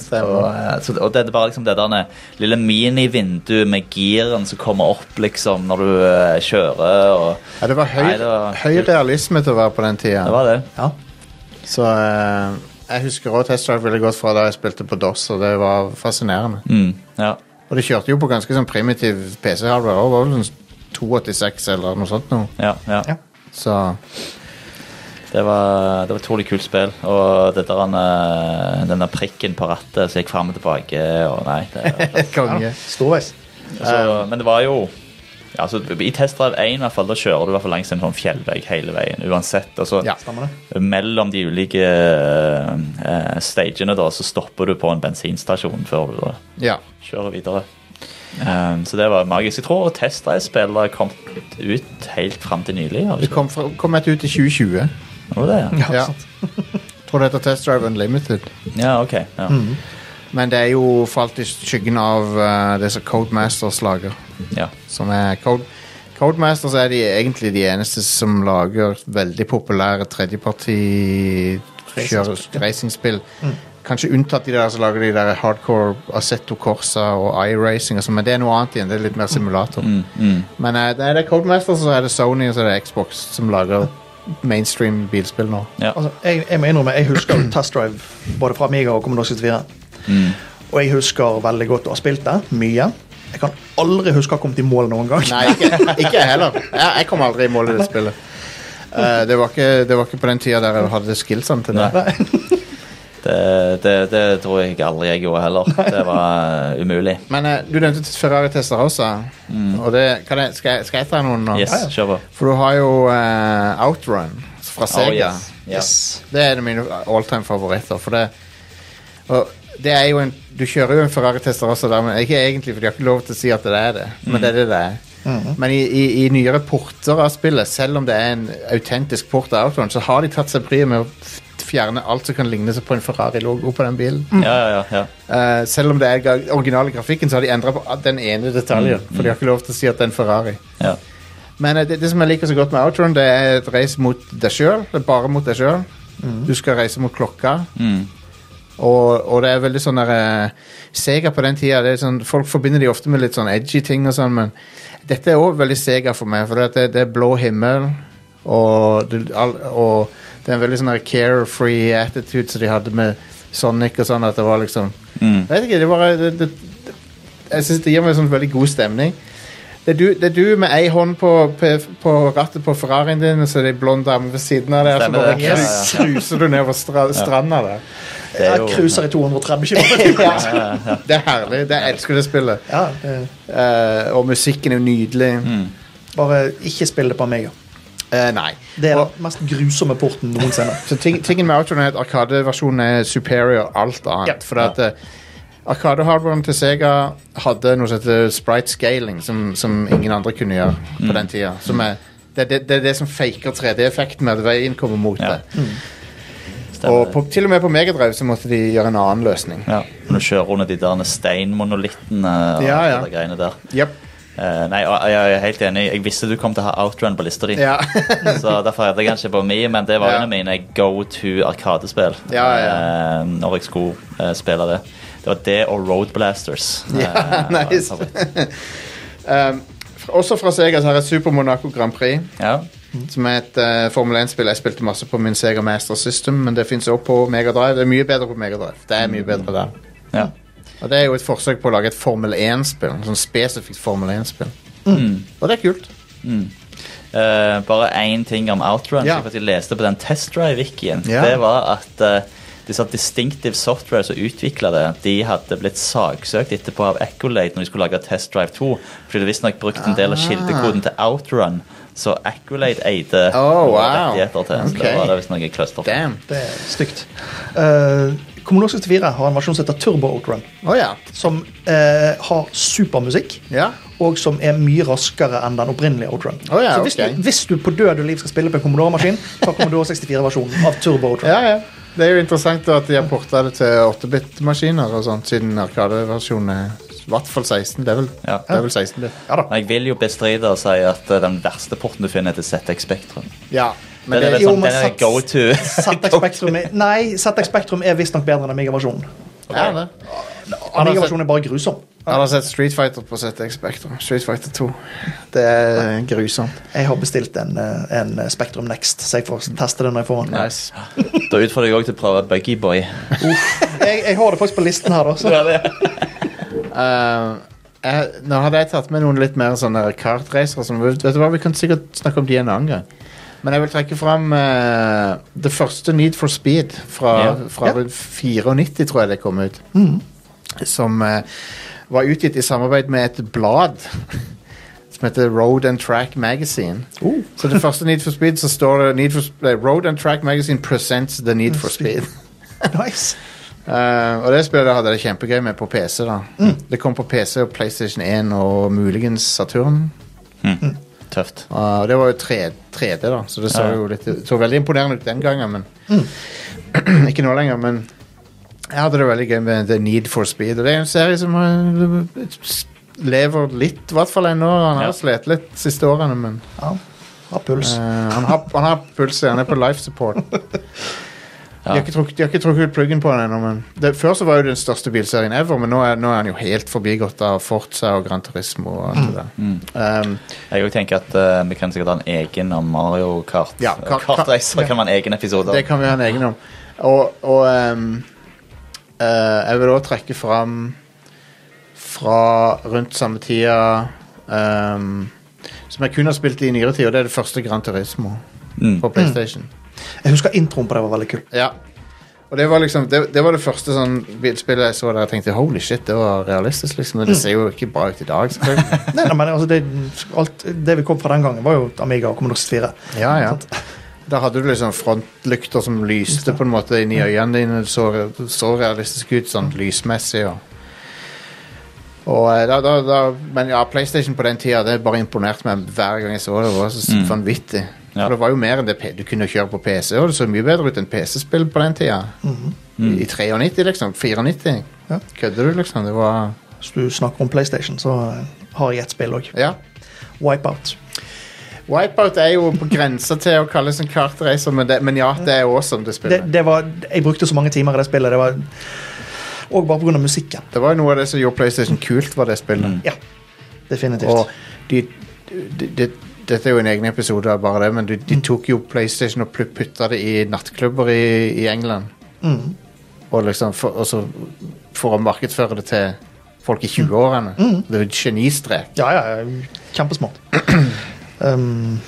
Speaker 1: Og,
Speaker 2: Stemmer.
Speaker 1: eh, så, og det er bare liksom det der lille minivinduet med giren som kommer opp liksom når du eh, kjører. Og,
Speaker 2: Ja, det var høy,
Speaker 1: Nei, det var-
Speaker 2: høy realisme til å være på den tida.
Speaker 1: det var det.
Speaker 3: Ja.
Speaker 2: Så eh, jeg husker også Test Drive veldig godt fra da jeg spilte på DOS, og det var fascinerende.
Speaker 1: Mm, ja.
Speaker 2: Og det kjørte jo på ganske sånn primitiv PC-hardware også, var vel sånn 286 eller noe sånt noe.
Speaker 1: Ja, ja.
Speaker 3: Ja.
Speaker 2: Så
Speaker 1: Det var, det var et utrolig kult spill. Og det der, eh, den der prikken på rattet som gikk fram og tilbake og nei, det,
Speaker 2: konge.
Speaker 3: Storveis.
Speaker 1: så, Men det var jo ja, altså, I Test Drive 1 i hvert fall, da kjører du i hvert fall langs en sånn fjellvegg hele veien uansett. Og så
Speaker 2: Ja.
Speaker 3: Stemmer det?
Speaker 1: mellom de ulike eh, stagene da, så stopper du på en bensinstasjon før du da
Speaker 2: Ja.
Speaker 1: kjøre videre. Ehm, så det var magisk. Jeg tror Test Drive-spill har kommet ut helt fram til nylig. Har vi
Speaker 2: Det
Speaker 1: ikke?
Speaker 2: kom, fra, kom et ut i 2020.
Speaker 1: Var det det?
Speaker 2: Ja. Tror det heter Test Drive Unlimited.
Speaker 1: Ja, ok. Ja.
Speaker 2: Mm. Men det er jo falt i skyggen av eh, det som Codemasters lager.
Speaker 1: Ja.
Speaker 2: Som Sånn er Code, Codemasters er de, egentlig de eneste som lager veldig populære tredjeparti kjører- racingspill. Kanskje unntatt de der som lager de der hardcore Assetto Corsa og iRacing, og sånn, men det er noe annet igjen. Det er litt mer simulator.
Speaker 1: Mm.
Speaker 2: Men eh, det er det Codemasters, og så er det Sony og så er det Xbox som lager mainstream bilspill nå.
Speaker 1: Ja.
Speaker 3: Altså, jeg, jeg må innrømme, jeg husker jo Test Drive både fra Amiga og Commodore 64. Og jeg husker veldig godt å ha spilt det. Mye. Jeg kan aldri huske å ha kommet i mål noen gang.
Speaker 2: Nei, ikke, ikke jeg heller. Jeg, jeg kom aldri i mål i det spillet. Eh, det, var ikke, det var ikke på den tida der jeg hadde skillsene til det.
Speaker 1: Nei. Det, det, det tror jeg aldri jeg gjorde heller. Det var eh, umulig.
Speaker 2: Men eh, du nevnte til Ferrari Testarossa. Og det, kan jeg, skal, jeg, skal jeg ta noen nå?
Speaker 1: Mm. Yes, kjør på.
Speaker 2: For du har jo eh, Outrun fra Sega.
Speaker 1: Oh, yes. Ja.
Speaker 3: Yes.
Speaker 2: Det er en av mine alltime favoritter. For det, og det er jo en, du kjører jo en Ferrari Testarossa der, men ikke egentlig, for de har ikke lov til å si at det er det.
Speaker 1: Mm.
Speaker 2: Men det er det det er. Men i, i, i nyere porter av spillet, selv om det er en autentisk port av Outrun, så har de tatt seg bryet med å f- fjerne alt som kan ligne seg på en Ferrari-logo på den bilen.
Speaker 1: Ja, ja, ja, ja.
Speaker 2: Eh, selv om det er ga- originale grafikken, så har de endra på den ene detaljen. For de har ikke lov til å si at det er en Ferrari.
Speaker 1: ja.
Speaker 2: Men eh, det, det som jeg liker så godt med Outrun, det er et race mot deg sjøl. Det er bare mot deg sjøl. Du skal reise mot klokka.
Speaker 1: Mm.
Speaker 2: Og, og det er veldig sånn der eh, Sega på den tida det er sånn, Folk forbinder de ofte med litt sånn edgy ting og sånn, men dette er òg veldig Sega for meg. For det, det, det er blå himmel, og, du, all, og det er en veldig sånn der carefree attitude som de hadde med Sonic og sånn, at det var liksom
Speaker 1: Mm.
Speaker 2: Jeg vet ikke, det var det, det, Jeg syns det gir meg en sånn veldig god stemning. Det er, du, det er du med ei hånd på, på, på rattet på Ferrarien din, og så er det ei blond dame ved siden av der, så
Speaker 1: Stemmer
Speaker 2: bare
Speaker 1: det.
Speaker 2: krus,
Speaker 1: Ja,
Speaker 2: kruser du nedover stra, stranda der.
Speaker 1: Det er
Speaker 3: Jeg
Speaker 1: jo-
Speaker 3: cruiser i 230 km.
Speaker 2: Det er herlig. Det jeg elsker det spillet.
Speaker 3: Ja, det-
Speaker 2: Eh, og musikken er jo nydelig.
Speaker 1: Mm.
Speaker 3: bare ikke spill det på meg. ja.
Speaker 2: Eh, nei.
Speaker 3: Det er
Speaker 2: og,
Speaker 3: den mest grusomme porten noensinne.
Speaker 2: så ting, tingen med Outrun er at Arkade-versjonen er superior alt annet.
Speaker 3: Ja.
Speaker 2: Fordi at eh, Arkade-hardwaren til Sega hadde noe som heter sprite scaling, som, som ingen andre kunne gjøre på den tida. Som er, det, er det, det er det som faker 3D-effekten med at veien kommer mot
Speaker 1: Ja.
Speaker 2: det. Og på, til og med på Megadrive så måtte de gjøre en annen løsning.
Speaker 1: Ja, Når du kjører under de der steinmonolittene og
Speaker 2: Ja, ja.
Speaker 1: alle de greiene der.
Speaker 2: Yep.
Speaker 1: Eh, nei, og jeg er helt enig. Jeg visste du kom til å ha Outrun på lista di.
Speaker 2: Ja.
Speaker 1: så derfor hadde jeg den ikke på mi, men det var
Speaker 2: Ja.
Speaker 1: en av mine go to arkadespill
Speaker 2: Ja, ja.
Speaker 1: eh, når jeg skulle eh, spille det. Det var det og Road Blasters.
Speaker 2: Ja,
Speaker 1: eh, var en
Speaker 2: nice.
Speaker 1: favoritt.
Speaker 2: um, fra- også fra Sega så har jeg Super Monaco Grand Prix.
Speaker 1: ja.
Speaker 2: Som er et eh, Formel 1-spill jeg spilte masse på min Sega Master System, men det fins også på Megadrive. Det er mye bedre på Megadrive. Det er mye bedre der.
Speaker 1: ja.
Speaker 2: Mm. Og det er jo et forsøk på å lage et Formel 1-spill. Sånn spesifikt Formel 1-spill. Og det er kult.
Speaker 1: Mm. Eh, bare én ting om Outrun. som
Speaker 2: Ja.
Speaker 1: Jeg faktisk leste på den testdrive-wikien.
Speaker 2: Ja.
Speaker 1: Det var at eh, disse Distinctive Software som utvikla det, de hadde blitt saksøkt etterpå av Accolade når de skulle lage Test Drive 2. Fordi de visstnok brukte en
Speaker 2: Ah.
Speaker 1: del av kildekoden til Outrun. Så Accolade eide
Speaker 2: Oh,
Speaker 1: noen
Speaker 2: wow.
Speaker 1: rettigheter til. Så
Speaker 2: Ok.
Speaker 1: det var da visstnok et cluster.
Speaker 2: Damn.
Speaker 3: Det er stygt. Eh, Commodore 64 har en versjon som heter Turbo Outrun.
Speaker 2: Å ja.
Speaker 3: Som eh, har supermusikk,
Speaker 2: Ja.
Speaker 3: og som er mye raskere enn den opprinnelige Outrun.
Speaker 2: Å ja,
Speaker 3: Så hvis,
Speaker 2: ok.
Speaker 3: du, hvis du på død og liv skal spille på en Commodore-maskin, ta Commodore 64-versjonen av Turbo Outrun.
Speaker 2: ja, ja. Det er jo interessant da at de har porta det til 8-bit-maskiner og sånt, siden Arkade-versjonen er i hvert fall 16. Det er vel,
Speaker 1: Ja.
Speaker 2: det er vel 16, det.
Speaker 3: Ja da.
Speaker 1: Men jeg vil jo bestride og si at eh, den verste porten du finner, er til ZX Spektrum.
Speaker 2: Ja. Men
Speaker 1: Den er
Speaker 2: det,
Speaker 1: vel
Speaker 3: jo,
Speaker 1: sånn,
Speaker 3: men
Speaker 1: den er
Speaker 3: sats-
Speaker 1: go to.
Speaker 3: ZX Spektrum er, nei, ZX Spektrum er visstnok bedre enn Amiga-versjonen.
Speaker 2: ja, det.
Speaker 3: Amiga-versjonen er bare grusom.
Speaker 2: Jeg har sett Street Fighter på ZX Spectrum. Street Fighter 2. Det er grusomt.
Speaker 3: Jeg har bestilt en, eh, en Spektrum Next, så jeg får teste det når jeg får den.
Speaker 2: Nice.
Speaker 1: da utfordrer jeg òg til å prøve Buggy Boy.
Speaker 3: Jeg, jeg har det faktisk på listen her, da. Så.
Speaker 2: Eh, jeg, nå hadde jeg tatt med noen litt mer sånne kartracere. Som, sånn. vet du hva, Vi kan sikkert snakke om de en annen gang. Men jeg vil trekke fram eh, det første Need for Speed fra,
Speaker 1: Ja.
Speaker 2: fra
Speaker 3: Ja.
Speaker 2: rundt 94, tror jeg det kom ut. Som eh, var utgitt i samarbeid med et blad som heter Road and Track Magazine.
Speaker 3: Oh.
Speaker 2: Så det første Need for Speed så står det Need for, Sp- nei, Road and Track Magazine presents The Need for Speed.
Speaker 3: Nice.
Speaker 2: Eh, og det spillet hadde jeg det kjempegøy med på PC. da
Speaker 1: Mm.
Speaker 2: Det kom på PC og PlayStation 1 og muligens Saturn. Mm.
Speaker 1: Tøft.
Speaker 2: Eh, og det var jo 3, 3D, da så det så
Speaker 1: Ja.
Speaker 2: jo litt det så veldig imponerende ut den gangen. Men
Speaker 1: Mm.
Speaker 2: ikke nå lenger. Men jeg hadde det veldig gøy med The Need for Speed. Og det er jo en serie som eh, lever litt, i hvert fall ennå. Han
Speaker 1: Ja.
Speaker 2: har slitt litt siste årene, men
Speaker 3: Ja, har puls.
Speaker 2: Eh, han, har, han har puls, ja. han er på life support. De, har ikke trukket, de har ikke trukket ut pluggen på den ennå. men- det- Før så var jo den største bilserien ever, men nå er, nå er han jo helt forbigått av Forza og Gran Turismo. Og alt det der. Um,
Speaker 1: Jeg også tenker at eh, vi kan sikkert ha en egen om Mario Kart.
Speaker 2: Ja,
Speaker 1: Eh,
Speaker 2: kart-
Speaker 1: Kartreiser kan være en egen episode.
Speaker 2: det
Speaker 1: av.
Speaker 2: kan vi ha en egen om. Og, og um, eh, jeg vil også trekke fram fra rundt samme tida um, Som jeg kun har spilt i nyere tid, og det er det første Gran Turismo
Speaker 1: Mm.
Speaker 2: på PlayStation.
Speaker 3: Jeg husker introen på det var veldig kul.
Speaker 2: Ja. Og det var liksom Det, det var det første sånn bilspillet jeg så der jeg tenkte holy shit, det var realistisk, liksom. Og det ser jo ikke bra ut i dag, selvfølgelig.
Speaker 3: Nei, nei, men altså, det, alt, det vi kom fra den gangen, var jo Amiga og Commodore 64.
Speaker 2: ja, ja. Da hadde du liksom frontlykter som lyste på en måte inni øynene dine. Det så, det så realistisk ut sånn lysmessig og og eh, da, da, da, men ja, PlayStation på den tida det bare imponerte meg hver gang jeg så det. Det var så
Speaker 1: Mm.
Speaker 2: vanvittig.
Speaker 1: Ja.
Speaker 2: For det var jo mer enn det P- du kunne kjøre på PC, og det så mye bedre ut enn PC-spill på den tida. I 93, liksom. 94.
Speaker 3: Ja.
Speaker 2: Kødder du, liksom? Det var
Speaker 3: Hvis du snakker om PlayStation, så eh, har jeg et spill òg.
Speaker 2: Ja.
Speaker 3: Wipeout.
Speaker 2: Wipeout er jo på grensa til å kalles en kartreiser, men, det, men ja, det er awesome, det
Speaker 3: Det,
Speaker 2: spillet. Det,
Speaker 3: det var, jeg brukte så mange timer i det spillet. Det var, og bare pga. musikken.
Speaker 2: var jo noe av det som gjorde PlayStation kult, var det spillet.
Speaker 3: Ja, definitivt.
Speaker 2: Og de, de, de, dette er jo en egen episode av bare det, men de, de tok jo PlayStation og pl- putta det i nattklubber i, i England.
Speaker 3: Mm.
Speaker 2: Og liksom for, og så for å markedsføre det til folk i 20-årene. Det er jo et genistrek.
Speaker 3: Ja, ja, ja. Kjempesmart. Um,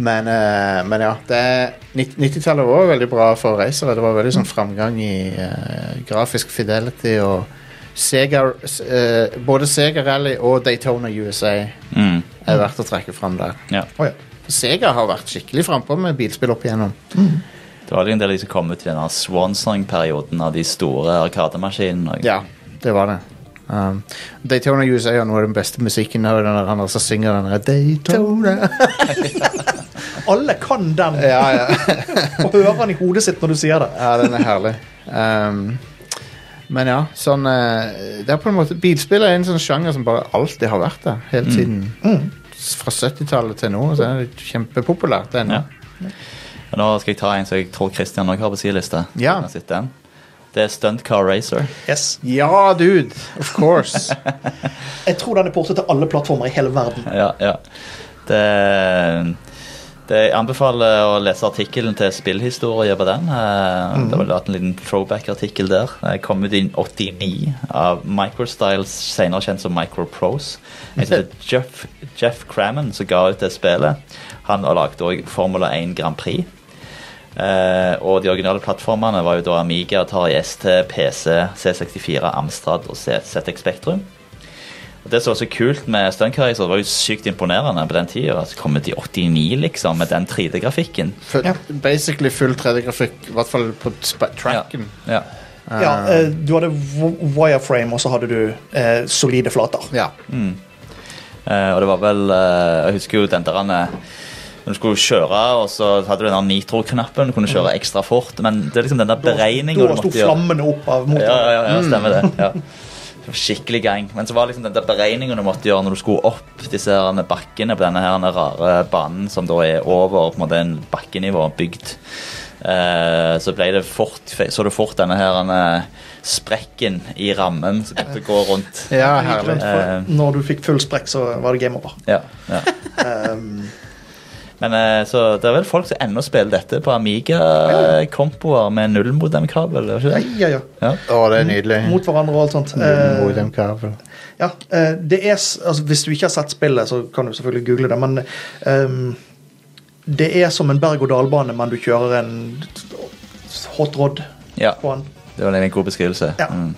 Speaker 2: Men, eh, men ja, det er- nitt- 90-tallet var veldig bra for racere. Det var veldig sånn framgang i eh, grafisk fidelity og Sega, s- eh, både Sega Rally og Daytona USA
Speaker 1: Mm.
Speaker 2: er verdt å trekke fram der.
Speaker 1: Ja.
Speaker 3: å ja.
Speaker 2: Sega har vært skikkelig frampå med bilspill opp igjennom.
Speaker 1: Det var jo en del av de som kom ut i denne Swansong-perioden av de store arkademaskinene. og-
Speaker 2: Ja, det var det. Um, Daytona USA har noe av den beste musikken. Og den der, han som synger den der Daytona
Speaker 3: Alle kan den
Speaker 2: Ja, ja.
Speaker 3: og hører den i hodet sitt når du sier det.
Speaker 2: ja, den er herlig. Um, men ja, sånn eh, Det er på en måte Bilspill er en sånn sjanger som bare alltid har vært der. Helt siden s- fra 70-tallet til nå. Så er det kjempepopulært ennå.
Speaker 1: Ja. Og Nå skal jeg ta en som jeg tror Christian også har på sin liste.
Speaker 2: Ja.
Speaker 1: Kan jeg sitte den? Det er Stunt Car Racer.
Speaker 3: Yes.
Speaker 2: Ja, dude! Of course.
Speaker 3: Jeg tror den er portet til alle plattformer i hele verden.
Speaker 1: Ja, ja. Det, det Jeg anbefaler å lese artikkelen til Spillhistorie på den. Eh, Det var latt en liten throwback-artikkel der. Eh, Kom ut i 89 av Microstyles, senere kjent som Microprose. Jeg synes det er Jeff, Jeff Cramman som ga ut det spillet. Han har lagd òg Formula 1 Grand Prix. Eh, og de originale plattformene var jo da Amiga, Atari ST, PC, C64, Amstrad og C- ZX Spectrum. Og Det som var så kult med Stuntkaiser, var jo sykt imponerende på den tida. Altså, kommet i 89, liksom, med den 3D-grafikken.
Speaker 2: Full,
Speaker 3: Ja.
Speaker 2: Basically full 3D-grafikk, i hvert fall på spa- tracken.
Speaker 1: Ja. Ah.
Speaker 3: Ja, eh, du hadde wi- wireframe, og så hadde du eh, solide flater.
Speaker 2: Ja.
Speaker 1: Mm. Eh, og det var vel eh, Jeg husker jo den der han, eh, Når du skulle kjøre, og så hadde du den der nitro-knappen, du kunne kjøre ekstra fort, men det er liksom den der
Speaker 3: Mm. Da-
Speaker 1: beregninga
Speaker 3: Da
Speaker 1: du
Speaker 3: sto
Speaker 1: måtte gjøre.
Speaker 3: flammene opp av
Speaker 1: Ja,
Speaker 3: motoren.
Speaker 1: ja, ja, ja, stemmer det. Ja. Skikkelig gang. Men så var liksom den der beregningen du måtte gjøre når du skulle opp disse her bakkene på denne her rare banen som da er over på en måte en bakkenivå bygd. Eh, så ble det fort Så du fort denne her eh, sprekken i rammen som begynte å gå rundt.
Speaker 2: ja,
Speaker 3: Jeg gikk rundt,
Speaker 2: herlig.
Speaker 1: Eh.
Speaker 3: for Når du fikk full sprekk, så var det game over.
Speaker 1: Ja, ja.
Speaker 3: Um,
Speaker 1: Men eh, så det er vel folk som ennå spiller dette på Amiga-kompoer med nullmodemkabel, er det
Speaker 3: ja,
Speaker 1: ikke det?
Speaker 3: ja, ja.
Speaker 1: Ja.
Speaker 2: Å, det er nydelig.
Speaker 3: Mot hverandre og alt sånt.
Speaker 2: Null
Speaker 3: Eh,
Speaker 2: modemkabel.
Speaker 3: ja, eh, det er, s- altså, hvis du ikke har sett spillet, så kan du selvfølgelig google det, men ehm, det er som en berg-og-dal-bane, men du kjører en hot rod
Speaker 1: ja.
Speaker 3: på den.
Speaker 1: Det var en god beskrivelse.
Speaker 3: Ja.
Speaker 1: Mm.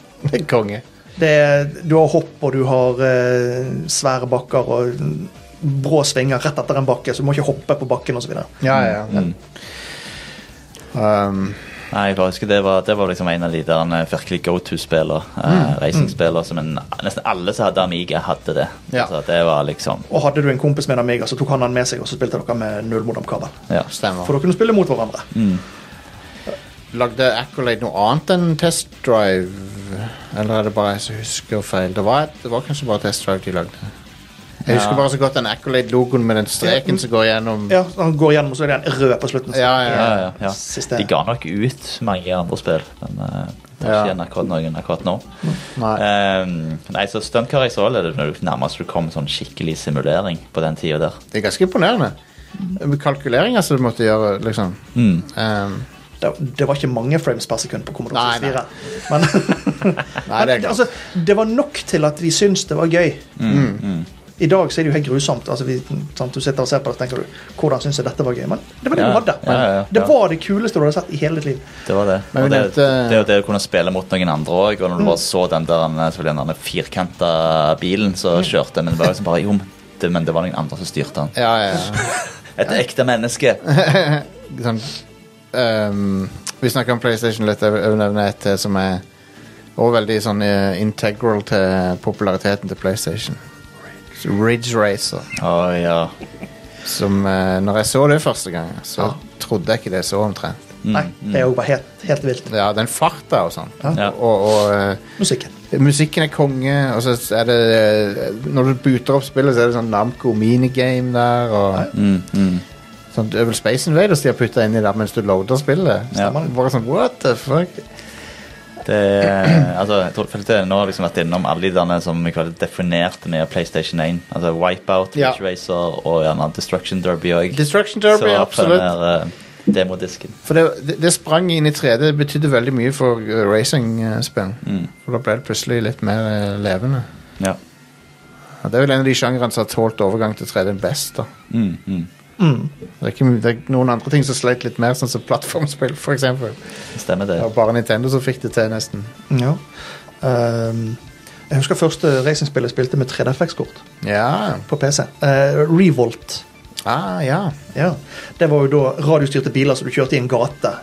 Speaker 2: Konge.
Speaker 3: Det er, du har hopp, og du har eh, svære bakker og mm, brå svinger rett etter en bakke, så du må ikke hoppe på bakken osv.
Speaker 2: Ja, ja.
Speaker 1: Mm.
Speaker 2: Um,
Speaker 1: Nei, jeg bare husker det var, det var liksom en av de der eh, virkelig go to-spiller.
Speaker 2: Mm.
Speaker 1: Eh, Racingspiller som en, nesten alle som hadde Amiga, hadde det.
Speaker 2: Ja.
Speaker 1: Så det var liksom
Speaker 3: Og hadde du en kompis med en Amiga, så tok han den med seg, og så spilte dere med nullmodemkabel.
Speaker 1: ja.
Speaker 2: stemmer.
Speaker 3: For da kunne du spille mot hverandre.
Speaker 2: Lagde Accolade noe annet enn Test Drive? Eller er det bare jeg som husker feil? Det var, det var kanskje bare Test Drive de lagde. Jeg husker bare så godt den Accolade-logoen med den streken som går gjennom.
Speaker 3: Ja, så Han går gjennom, og så er det en rød på slutten.
Speaker 2: Ja, ja,
Speaker 1: Ja, ja, ja.
Speaker 3: Siste-
Speaker 1: De ga nok ut mange andre spill, men eh, det er
Speaker 2: Ja. Mm.
Speaker 1: ikke NRK noen akkurat nå.
Speaker 2: Nei.
Speaker 1: Um, nei, så Stuntcar Race Roll er det når du nærmest du kom sånn skikkelig simulering på den tida der.
Speaker 2: Det er ganske imponerende. Kalkuleringer som du måtte gjøre, liksom.
Speaker 1: Mm.
Speaker 2: Um,
Speaker 3: Det, det var ikke mange frames per sekund på Commodore
Speaker 2: Nei, nei.
Speaker 3: 64. Men,
Speaker 2: nei, det er klart.
Speaker 3: altså, det var nok til at vi syntes det var gøy.
Speaker 1: Mm,
Speaker 2: Mm.
Speaker 3: I dag så er det jo helt grusomt. Altså, vi, sant, du sitter og ser på det og tenker du, hvordan syns jeg dette var gøy? Men det var det
Speaker 1: Ja,
Speaker 3: du hadde.
Speaker 1: ja, ja, ja.
Speaker 3: Det var det kuleste du hadde sett i hele ditt liv.
Speaker 1: Det var det.
Speaker 2: Men vi
Speaker 1: Og det,
Speaker 2: nevnte- Mm.
Speaker 1: det er jo det å kunne spille mot noen andre òg. Og når du bare så den der eh, selvfølgelig den der firkanta bilen
Speaker 2: Mm.
Speaker 1: som kjørte, men det var liksom bare jo, men det, men det var noen andre som styrte den.
Speaker 2: Ja, ja, ja.
Speaker 1: Et ekte menneske.
Speaker 2: Sånn, um, vi snakker om PlayStation litt. Jeg vil- jeg vil nevne et til som er også veldig sånn eh, integral til populariteten til PlayStation. Ridge Racer.
Speaker 1: Å ja.
Speaker 2: Som, eh, når jeg så det første gang, så trodde jeg ikke det jeg så omtrent.
Speaker 1: Mm,
Speaker 3: Nei, det er jo bare helt, helt vilt.
Speaker 2: Ja, den farta og sånn.
Speaker 1: Ja.
Speaker 2: Og, og eh,
Speaker 3: Musikken.
Speaker 2: musikken er konge, og så er det eh, Når du booter opp spillet, så er det sånn Namco minigame der, og
Speaker 1: Mm, mm.
Speaker 2: sånn det er vel Space Invaders de har putta inni der mens du loader spillet.
Speaker 1: Ja.
Speaker 2: Bare sånn what the fuck?
Speaker 1: Det er- altså, jeg tror, følte jeg nå har liksom vært innom alle de derne som jeg kaller definerte med PlayStation 1. Altså Wipeout,
Speaker 2: Ja.
Speaker 1: Ridge Racer og gjerne Destruction Derby òg.
Speaker 2: Destruction Derby, absolutt.
Speaker 1: eh, demodisken.
Speaker 2: For det, det, det sprang inn i 3D. Det betydde veldig mye for eh, racing-spill.
Speaker 1: Mm.
Speaker 2: For da ble det plutselig litt mer eh, levende.
Speaker 1: Ja.
Speaker 2: Ja, det er vel en av de sjangrene som har tålt overgang til 3D best. da.
Speaker 1: Mm, mm.
Speaker 3: Mm.
Speaker 2: Det er, ikke, det er noen andre ting som sleit litt mer, sånn som plattformspill, f.eks. Det
Speaker 1: Stemmer det.
Speaker 2: var bare Nintendo som fikk det til, nesten.
Speaker 3: Ja. Ehm, jeg husker første racingspill jeg spilte med 3DFX-kort
Speaker 2: Ja.
Speaker 3: på PC. Eh, Revolt.
Speaker 2: Ah, ja.
Speaker 3: Ja. Det var jo da radiostyrte biler som du kjørte i en gate.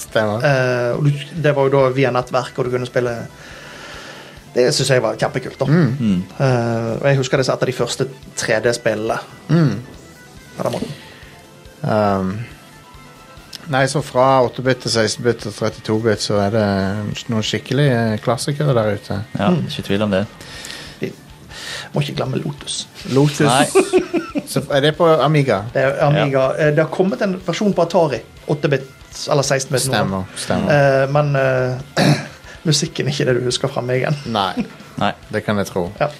Speaker 2: Stemmer.
Speaker 3: Eh, og du, det var jo da via nettverk, og du kunne spille Det syns jeg var kjempekult. da.
Speaker 1: Mm.
Speaker 3: Eh, og jeg husker det som et av de første 3D-spillene.
Speaker 2: Mm.
Speaker 3: på den måten.
Speaker 2: Um, nei, så fra 8-bit til 16-bit og 32-bit så er det eh, noen skikkelige klassikere der ute.
Speaker 1: Ja, ikke tvil om det.
Speaker 3: Må ikke glemme Lotus.
Speaker 2: Lotus.
Speaker 1: Nei.
Speaker 2: Så er det på Amiga?
Speaker 3: Det, er Amiga, eh, det har kommet en versjon på Atari. 8-bit eller 16-bit. nå.
Speaker 2: Stemmer. stemmer.
Speaker 3: Eh, men eh, musikken er ikke det du husker fra meg
Speaker 1: Eh.
Speaker 3: igjen.
Speaker 2: Nei,
Speaker 1: Nei.
Speaker 2: det kan jeg tro.
Speaker 3: Ja.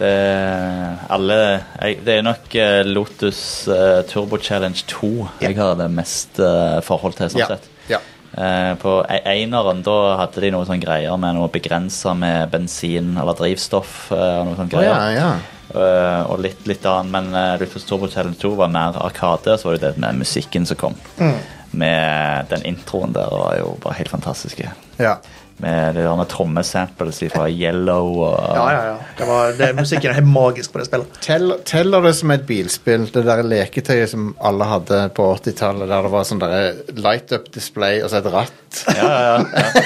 Speaker 1: Det, eh, alle, jeg, det er nok eh, Lotus eh, Turbo Challenge 2 jeg har det mest eh, forhold til, sånn
Speaker 2: Ja.
Speaker 1: sett.
Speaker 2: ja.
Speaker 1: Eh, på e- eineren da hadde de noen sånne greier med noe begrensa med bensin eller drivstoff. eh, og noe sånt
Speaker 2: Å, ja,
Speaker 1: greier.
Speaker 2: ja.
Speaker 1: Eh, og litt, litt annet, men eh, Rufus Turbo Challenge 2 var mer arkade. Så var det det med musikken som kom.
Speaker 2: Mm.
Speaker 1: Med den introen der var jo bare helt fantastisk.
Speaker 2: ja.
Speaker 1: Med det der med trommesamples fra Yellow og
Speaker 3: Ja, ja, ja. Det var, det, musikken er helt magisk på det spillet.
Speaker 2: Tell, teller det som et bilspill, det der leketøyet som alle hadde på 80-tallet, der det var sånn der light up display og så et ratt?
Speaker 1: Ja, ja, ja.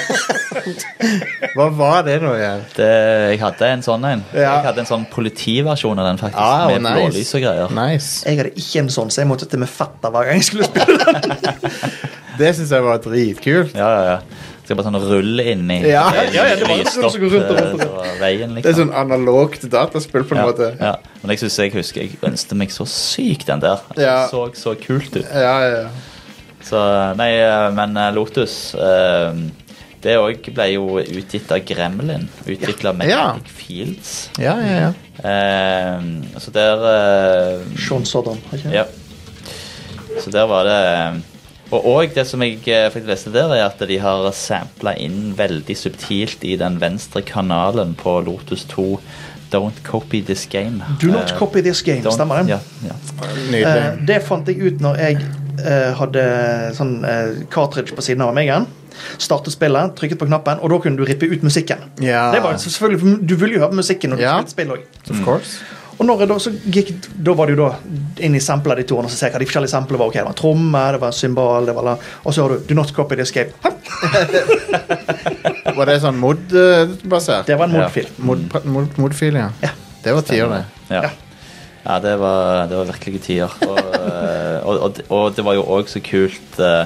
Speaker 2: Hva var det nå igjen?
Speaker 1: Det, jeg hadde en sånn en.
Speaker 2: Ja.
Speaker 1: Jeg hadde en sånn politiversjon av den, faktisk.
Speaker 2: Ah,
Speaker 1: med
Speaker 2: nice.
Speaker 1: blålys og greier.
Speaker 2: Nice.
Speaker 3: Jeg hadde ikke en sånn, så jeg måtte til med fetter hver gang jeg skulle spille den.
Speaker 2: Det syns jeg var dritkult.
Speaker 1: Ja, ja, ja. Skal bare sånn rulle inni.
Speaker 2: Ja.
Speaker 3: Ja, ja, det var jo
Speaker 1: lyst
Speaker 3: sånn som går rundt og
Speaker 1: opp,
Speaker 3: rundt og
Speaker 1: eh, så veien, liksom.
Speaker 2: Det er sånn analogt dataspill på en
Speaker 1: ja,
Speaker 2: måte.
Speaker 1: Ja. Men jeg synes jeg husker jeg ønsket meg så sykt den der. Det
Speaker 2: Ja.
Speaker 1: så så kult ut.
Speaker 2: Ja, ja, ja.
Speaker 1: Så, nei, eh, men eh, Lotus eh, Det òg ble jo utgitt av Gremlin. Utvikla av
Speaker 2: Ja.
Speaker 1: Magnetic Fields.
Speaker 2: ja, ja, ja.
Speaker 1: Eh, så der eh,
Speaker 3: Sean Sodden, har ikke det?
Speaker 1: Ja. Så der var det eh, Og, og det som jeg eh, fikk lese der, er at de har sampla inn veldig subtilt i den venstre kanalen på Lotus 2 Don't copy this game.
Speaker 3: Do not
Speaker 1: Eh,
Speaker 3: copy this game,
Speaker 1: don't-
Speaker 3: stemmer det?
Speaker 1: Ja, ja.
Speaker 2: Nydelig.
Speaker 3: Eh, det fant jeg ut når jeg eh, hadde sånn eh, cartridge på siden av meg igjen. Startet spillet, trykket på knappen, og da kunne du rippe ut musikken.
Speaker 2: Ja.
Speaker 3: Det var jo selvfølgelig, Du ville jo høre på musikken når du
Speaker 2: Ja.
Speaker 3: spilte spill også.
Speaker 2: Of course.
Speaker 3: Og når jeg da, så gikk, da var det jo da inn i sampler de to, og så ser jeg hva de forskjellige samplene var. Ok, det var en tromme, det var en cymbal, det var la- Og så har du Do not copy this game. Hæ?
Speaker 2: Var det sånn mod-basert?
Speaker 3: Det var en
Speaker 1: Ja.
Speaker 3: modfil.
Speaker 2: Mod, mod, modfil, ja.
Speaker 3: Ja.
Speaker 2: Det var tider, det.
Speaker 1: Ja. ja, det var, det var virkelige tider. Og, eh, og, og, og det var jo òg så kult eh,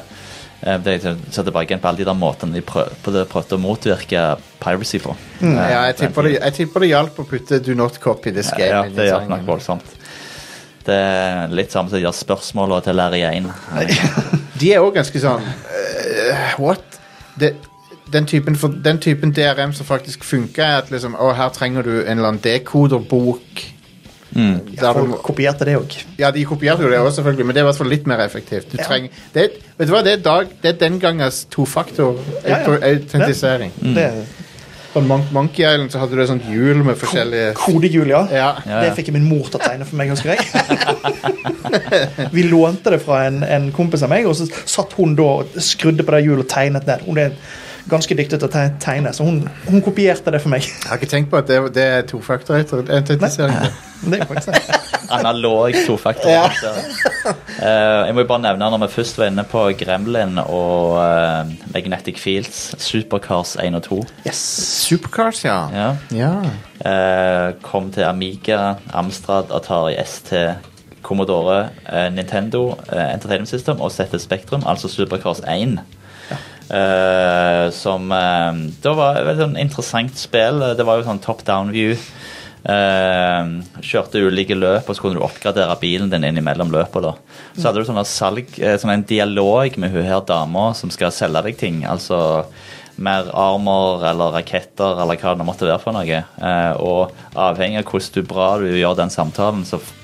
Speaker 1: eh, det jeg ser tilbake igjen på alle de der måtene de prøv, på det prøvde å motvirke piracy på.
Speaker 3: Mm.
Speaker 1: Eh,
Speaker 2: Ja, jeg
Speaker 1: på den
Speaker 2: tipper det, jeg tipper det hjalp å putte 'do not copy this game'
Speaker 1: Ja,
Speaker 2: inn
Speaker 1: det
Speaker 2: i
Speaker 1: hjalp nok
Speaker 2: sangen.
Speaker 1: voldsomt. Det er litt samme som de der spørsmåla til Larry 1.
Speaker 2: De er òg ganske sånn eh, What? Det, den, typen for, den typen DRM som faktisk funker, er at liksom Å, her trenger du en eller annen dekoderbok.
Speaker 1: Mm.
Speaker 2: Der du,
Speaker 3: Folk
Speaker 2: må-
Speaker 3: kopierte det òg.
Speaker 2: ja, de kopierte jo det også selvfølgelig, men det er i hvert fall litt mer effektivt. Du
Speaker 3: Ja.
Speaker 2: trenger, det, er- vet du hva, det er, dag, det er den gangens
Speaker 3: Ja, ja.
Speaker 2: tofaktor-autentisering. På Mon- Monkey Island så hadde du et sånt hjul med forskjellige
Speaker 3: Kodehjul, ja.
Speaker 2: Ja.
Speaker 1: Ja, ja.
Speaker 3: Det fikk jeg min mor til å tegne for meg, husker jeg. Vi lånte det fra en, en kompis av meg, og så satt hun da og skrudde på det hjulet og tegnet ned. Hun er ganske dyktig til å te- tegne, så hun, hun kopierte det for meg.
Speaker 2: Jeg har ikke tenkt på at det, det er tofaktor-autentisering.
Speaker 3: Det er jo faktisk det.
Speaker 1: Analog tofaktor.
Speaker 2: Ja.
Speaker 1: Eh, jeg må jo bare nevne når vi først var inne på Gremlin og eh, Magnetic Fields, Supercars 1 og 2,
Speaker 3: Yes.
Speaker 2: Supercars, ja.
Speaker 1: ja.
Speaker 2: Ja.
Speaker 1: Eh, kom til Amiga, Amstrad, Atari ST, Commodore, eh, Nintendo, eh, Entertainment System og ZS Spectrum, altså Supercars 1. Eh, som eh, Da var et veldig sånn interessant spill. Det var jo sånn top down view. Eh, kjørte ulike løp, og så kunne du oppgradere bilen din innimellom løpet. da Så hadde du sånne salg, eh, sånn en dialog med hun her dama som skal selge deg ting. Altså mer armer eller raketter eller hva det nå måtte være for noe. Eh, og avhengig av hvordan du bra du gjør den samtalen, så f-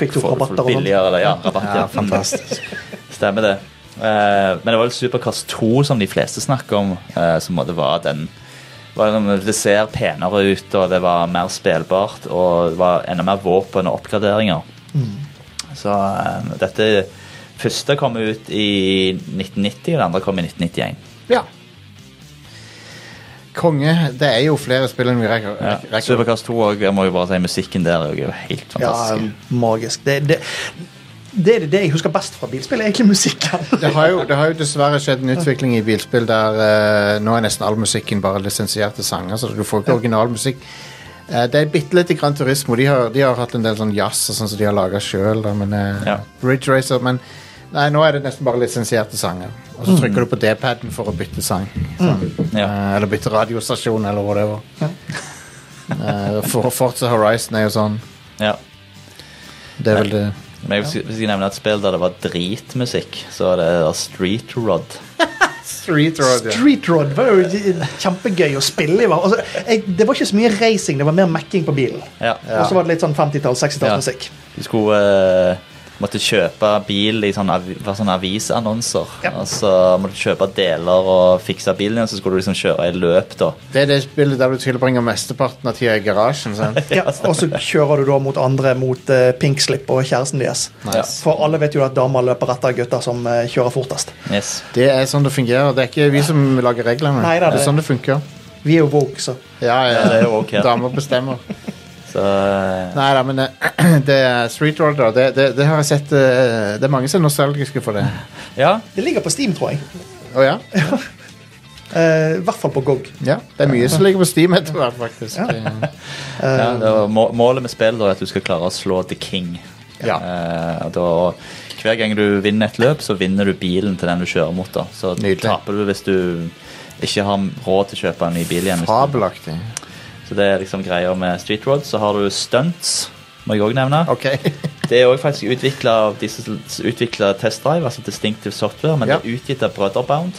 Speaker 3: Fikk du rabatter og sånt?
Speaker 1: billigere eller ja, rabatter.
Speaker 2: Ja, fantastisk.
Speaker 1: Stemmer det. Eh, men det var vel Supercross 2 som de fleste snakker om, eh, som måtte være den var den- Det ser penere ut, og det var mer spillbart, og det var enda mer våpen og oppgraderinger. Så eh, dette første kom ut i 1990, og det andre kom i 1991.
Speaker 2: Ja. Konge. Det er jo flere spill enn vi rekker.
Speaker 1: Ja.
Speaker 2: rekker-
Speaker 1: Supercast 2 òg, jeg må jo bare si musikken der er jo helt
Speaker 3: Ja,
Speaker 2: altså.
Speaker 3: um,
Speaker 1: fantastisk.
Speaker 3: magisk. Det, det, det er det jeg husker best fra bilspill, er egentlig musikken.
Speaker 2: Det har, jo, det har jo dessverre skjedd en utvikling i bilspill der eh, nå er nesten all musikken bare lisensierte sanger, så du får ikke originalmusikk. Eh, det er bitte lite Gran Turismo. De har, de har hatt en del sånn jazz og sånn som de har laga sjøl.
Speaker 1: Ja.
Speaker 2: eh, Bridge Racer, men nei, nå er det nesten bare lisensierte sanger. Og så trykker du på D-paden for å bytte sang. Sånn.
Speaker 1: Mm. Ja.
Speaker 2: Eh, eller bytte radiostasjon, eller whatever. Eh, for Forza Horizon er jo sånn.
Speaker 1: Ja.
Speaker 2: Det er vel det.
Speaker 1: Men jeg vil si- hvis jeg nevner et spill der det var dritmusikk, så er det Street Rod.
Speaker 2: Street
Speaker 3: Street Rod var jo kjempegøy å spille i. hva? Altså, jeg, det var ikke så mye racing, det var mer mekking på bilen.
Speaker 1: Ja.
Speaker 3: Og så var det litt sånn 50-tall, 60-tallsmusikk.
Speaker 1: Du skulle eh, måtte kjøpe bil i sånne, avi- var sånne avisannonser.
Speaker 3: Ja.
Speaker 1: Og så måtte du kjøpe deler og fikse bilen, og så skulle du liksom kjøre i løp, da.
Speaker 2: Det er det spillet der du tilbringer mesteparten av tida i garasjen. sant?
Speaker 3: Ja, og så kjører du da mot andre, mot eh, Pink Slip og kjæresten deres.
Speaker 2: Nice.
Speaker 3: For alle vet jo at damer løper etter gutter som eh, kjører fortest.
Speaker 1: Yes.
Speaker 2: Det er sånn det fungerer. Det er ikke vi som lager reglene.
Speaker 3: Nei,
Speaker 2: det,
Speaker 3: da,
Speaker 2: er
Speaker 3: det-
Speaker 2: sånn det funker.
Speaker 3: Vi er jo woke, så.
Speaker 2: Ja, ja,
Speaker 1: Ja, det er jo ok.
Speaker 2: Damer bestemmer.
Speaker 1: Så eh,
Speaker 2: Nei da, men eh, det er Street Order, det, det, det har jeg sett eh, Det er mange som er nostalgiske for det.
Speaker 1: Ja.
Speaker 3: Det ligger på Steam, tror jeg.
Speaker 2: Å ja?
Speaker 3: Eh, I hvert fall på GOG.
Speaker 2: ja? Det er mye som ligger på Steam etter hvert, faktisk.
Speaker 1: ja det var må målet med spillet da, er at du skal klare å slå The King.
Speaker 2: Ja.
Speaker 1: Eh, og da, og hver gang du vinner et løp, så vinner du bilen til den du kjører mot. Da. Så
Speaker 2: Nydelig.
Speaker 1: taper du hvis du ikke har råd til å kjøpe en ny bil igjen. hvis du-
Speaker 2: Fabelaktig.
Speaker 1: Så det er liksom greia med Street Road. Så har du stunts, må jeg òg nevne.
Speaker 2: Ok.
Speaker 1: Det er òg faktisk utvikla av de som utvikla Test Drive, altså Distinctive Software, men
Speaker 2: Ja.
Speaker 1: det er utgitt av Brødrebound.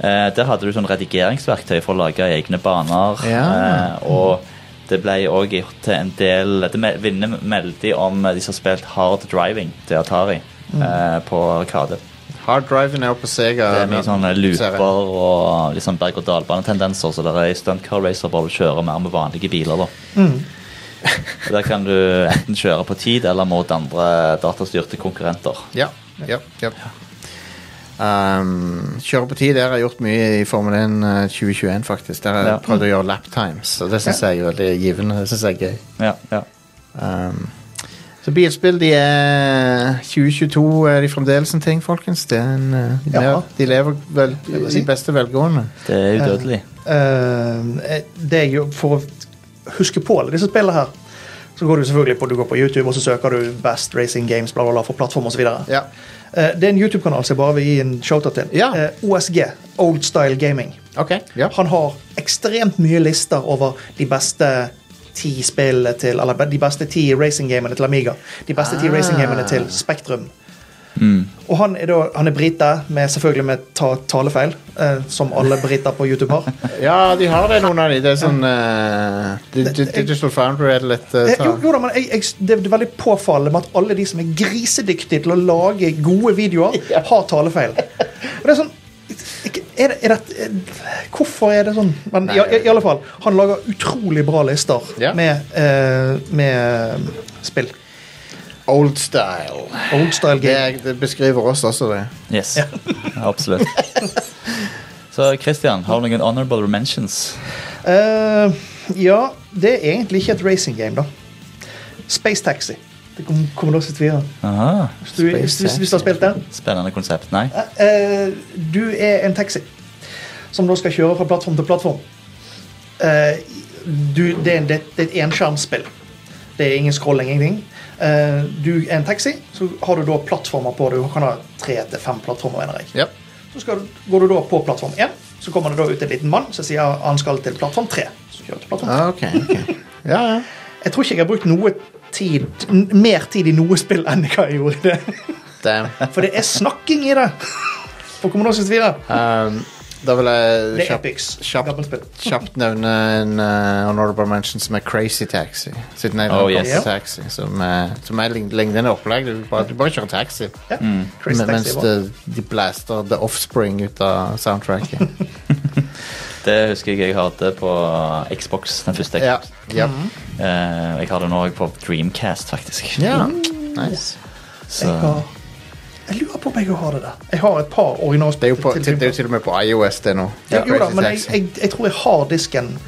Speaker 1: Eh, der hadde du sånn redigeringsverktøy for å lage egne baner.
Speaker 2: Ja.
Speaker 1: Eh, og det ble òg gjort til en del Det me- vinner veldig om eh, de som har spilt Hard Driving til Atari
Speaker 2: Mm.
Speaker 1: eh, på Arkade.
Speaker 2: Hard driven er jo på Sega.
Speaker 1: Det er mye sånne
Speaker 2: ser jeg.
Speaker 1: looper og litt sånn berg-og-dal-bane-tendenser, så det er stunt car racer bare du kjører mer med vanlige biler, da.
Speaker 2: Mm.
Speaker 1: Og Der kan du enten kjøre på tid eller mot andre datastyrte konkurrenter.
Speaker 2: Ja. ja, ja. Um, kjøre på tid der har jeg gjort mye i Formel 1 eh, 2021, faktisk. Der har jeg
Speaker 1: Ja.
Speaker 2: prøvd å gjøre lap times, og det syns jeg er veldig givende. Det synes jeg er gøy.
Speaker 1: Ja, ja.
Speaker 2: Um, så bilspill, de er 2022 er de fremdeles en ting, folkens. Det er en, uh, de,
Speaker 3: Ja.
Speaker 2: lever, de lever vel,
Speaker 3: vil jeg si.
Speaker 2: i beste velgående.
Speaker 1: Det er udødelig.
Speaker 3: Eh, det er jo For å huske på alle disse spillene her, så går du selvfølgelig på, du går på YouTube og så søker du Best Racing Games bla, bla, bla, for plattform osv.
Speaker 2: Ja.
Speaker 3: Uh, det er en YouTube-kanal som jeg bare vil gi en shoutout til.
Speaker 2: Ja.
Speaker 3: Eh, OSG, Old Style Gaming.
Speaker 2: Ok. Ja.
Speaker 3: Han har ekstremt mye lister over de beste ti spillene til Eller de beste ti racinggamene til Amiga. De beste ti
Speaker 2: Ah. Mm.
Speaker 3: racinggamene til Spektrum. Og han er, da, han er brite, med, selvfølgelig med ta, talefeil, eh, som alle briter på YouTube har.
Speaker 2: ja, de har det, noen av de. Det er sånn uh, di- di- Digital Foundry er det litt uh,
Speaker 3: Eh,
Speaker 2: ta.
Speaker 3: Jo, jo da, men jeg, jeg, det er veldig påfallende med at alle de som er grisedyktige til å lage gode videoer, har talefeil. Og det er sånn er det, er det, er- hvorfor er det sånn? Men
Speaker 2: Nei,
Speaker 3: i, i, i alle fall, han lager utrolig bra lister
Speaker 2: Ja.
Speaker 3: med, eh, med eh, spill.
Speaker 2: Old style.
Speaker 3: Old style
Speaker 2: Det,
Speaker 3: game.
Speaker 2: er- det beskriver oss også, det.
Speaker 1: Yes. Absolutt. Så Christian, har du noen honorable mentions?
Speaker 3: Eh, ja, det er egentlig ikke et racing game, da. Space Taxi. Det kom- kommer du også til å tvile.
Speaker 1: Aha.
Speaker 3: Hvis du- hvis du- hvis du har spilt den.
Speaker 1: Spennende konsept. Nei?
Speaker 3: Eh, du er en taxi som da skal kjøre fra plattform til plattform. Eh, du, det, er en, det, det er et enskjermspill. Det er ingen scrolling, ingenting. Eh, du er en taxi, så har du da plattformer på. Du kan ha tre til fem plattformer. mener jeg.
Speaker 2: Ja.
Speaker 3: Så skal, du- går du da på plattform én, så kommer det da ut en liten mann som sier han skal til plattform tre. Så kjører du til plattform.
Speaker 2: Ah, ok. ok. Ja, ja.
Speaker 3: Jeg tror ikke jeg har brukt noe tid, n- mer tid i noe spill enn hva jeg gjorde i det.
Speaker 2: Damn.
Speaker 3: For det er snakking i det! På kommunalsystemet.
Speaker 2: Um, Da vil
Speaker 3: Det
Speaker 2: jeg
Speaker 3: er
Speaker 2: kjapt,
Speaker 3: Epics.
Speaker 2: kjapt,
Speaker 3: Dobbeltspill.
Speaker 2: kjapt nevne en eh, honorable mention som er Crazy Taxi. Siden jeg
Speaker 1: Oh,
Speaker 2: liker
Speaker 1: yes.
Speaker 2: taxi, som, eh, som er lign- lignende opplegg. Du bare, du bare kjører taxi.
Speaker 3: Ja. Crazy
Speaker 2: Mm. Men, mens
Speaker 3: Taxi er bra.
Speaker 2: det, de blaster The Offspring ut av soundtracket.
Speaker 1: Det husker jeg jeg hadde på Xbox, den første.
Speaker 2: ja.
Speaker 1: Xbox.
Speaker 2: Ja.
Speaker 3: Mm-hmm.
Speaker 1: Eh, jeg har den òg på Dreamcast, faktisk.
Speaker 2: ja. Nice.
Speaker 1: Så
Speaker 3: Jeg, har, jeg lurer på om jeg har det der. Jeg har et par
Speaker 2: Det er,
Speaker 3: originalspill.
Speaker 2: jo på,
Speaker 3: til-
Speaker 2: til, det er jo til og med på iOS, det nå.
Speaker 3: Ja, jo da,
Speaker 2: Crazy
Speaker 3: men jeg,
Speaker 2: Taxi.
Speaker 3: jeg, jeg tror jeg har disken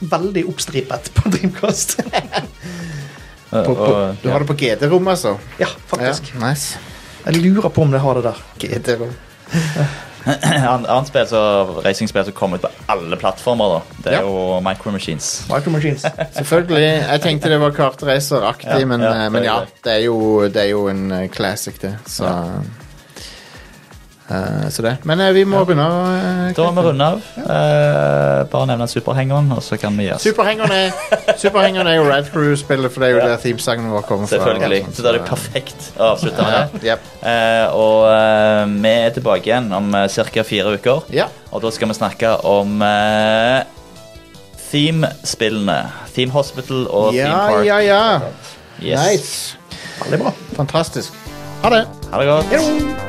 Speaker 3: veldig oppstripet på Dreamcast.
Speaker 1: og-
Speaker 2: på, på,
Speaker 1: og-
Speaker 2: du har det på GD-rom, altså?
Speaker 3: ja, faktisk.
Speaker 2: Ja, nice.
Speaker 3: Jeg lurer på om jeg har det der.
Speaker 2: GD-rom.
Speaker 1: An- Annet spill så- racingspill som kom ut på alle plattformer, da. Det er
Speaker 2: Ja.
Speaker 1: jo Micro Machines.
Speaker 3: Micro Machines.
Speaker 2: Selvfølgelig. Jeg tenkte det var kartracer-aktig,
Speaker 1: Ja,
Speaker 2: men,
Speaker 1: ja,
Speaker 2: eh, men
Speaker 1: det er
Speaker 2: ja,
Speaker 1: det.
Speaker 2: det er jo, det er jo en eh, classic, det. Så, eh, så det. Men eh, vi må runde av. eh,
Speaker 1: Da må vi
Speaker 2: Christian.
Speaker 1: runde av. Eh, bare nevne superhengeren, og så kan vi gjøre
Speaker 2: Superhengeren er, Superhengeren er jo Rad Crew-spillet, for det er jo
Speaker 1: Ja.
Speaker 2: der teamsangen vår kommer fra.
Speaker 1: sånn. Selvfølgelig.
Speaker 2: og sånt,
Speaker 1: Så da er det perfekt å avslutte med det.
Speaker 2: sånn Ja,
Speaker 1: Eh, og eh, vi er tilbake igjen om uh, ca. fire uker.
Speaker 2: ja.
Speaker 1: Og da skal vi snakke om eh, themespillene. Theme Hospital og
Speaker 2: ja,
Speaker 1: Theme Park.
Speaker 2: ja, ja.
Speaker 1: Yes.
Speaker 2: Nice.
Speaker 3: Veldig bra.
Speaker 2: Fantastisk. Ha det.
Speaker 1: Ha det godt.
Speaker 3: Hei då!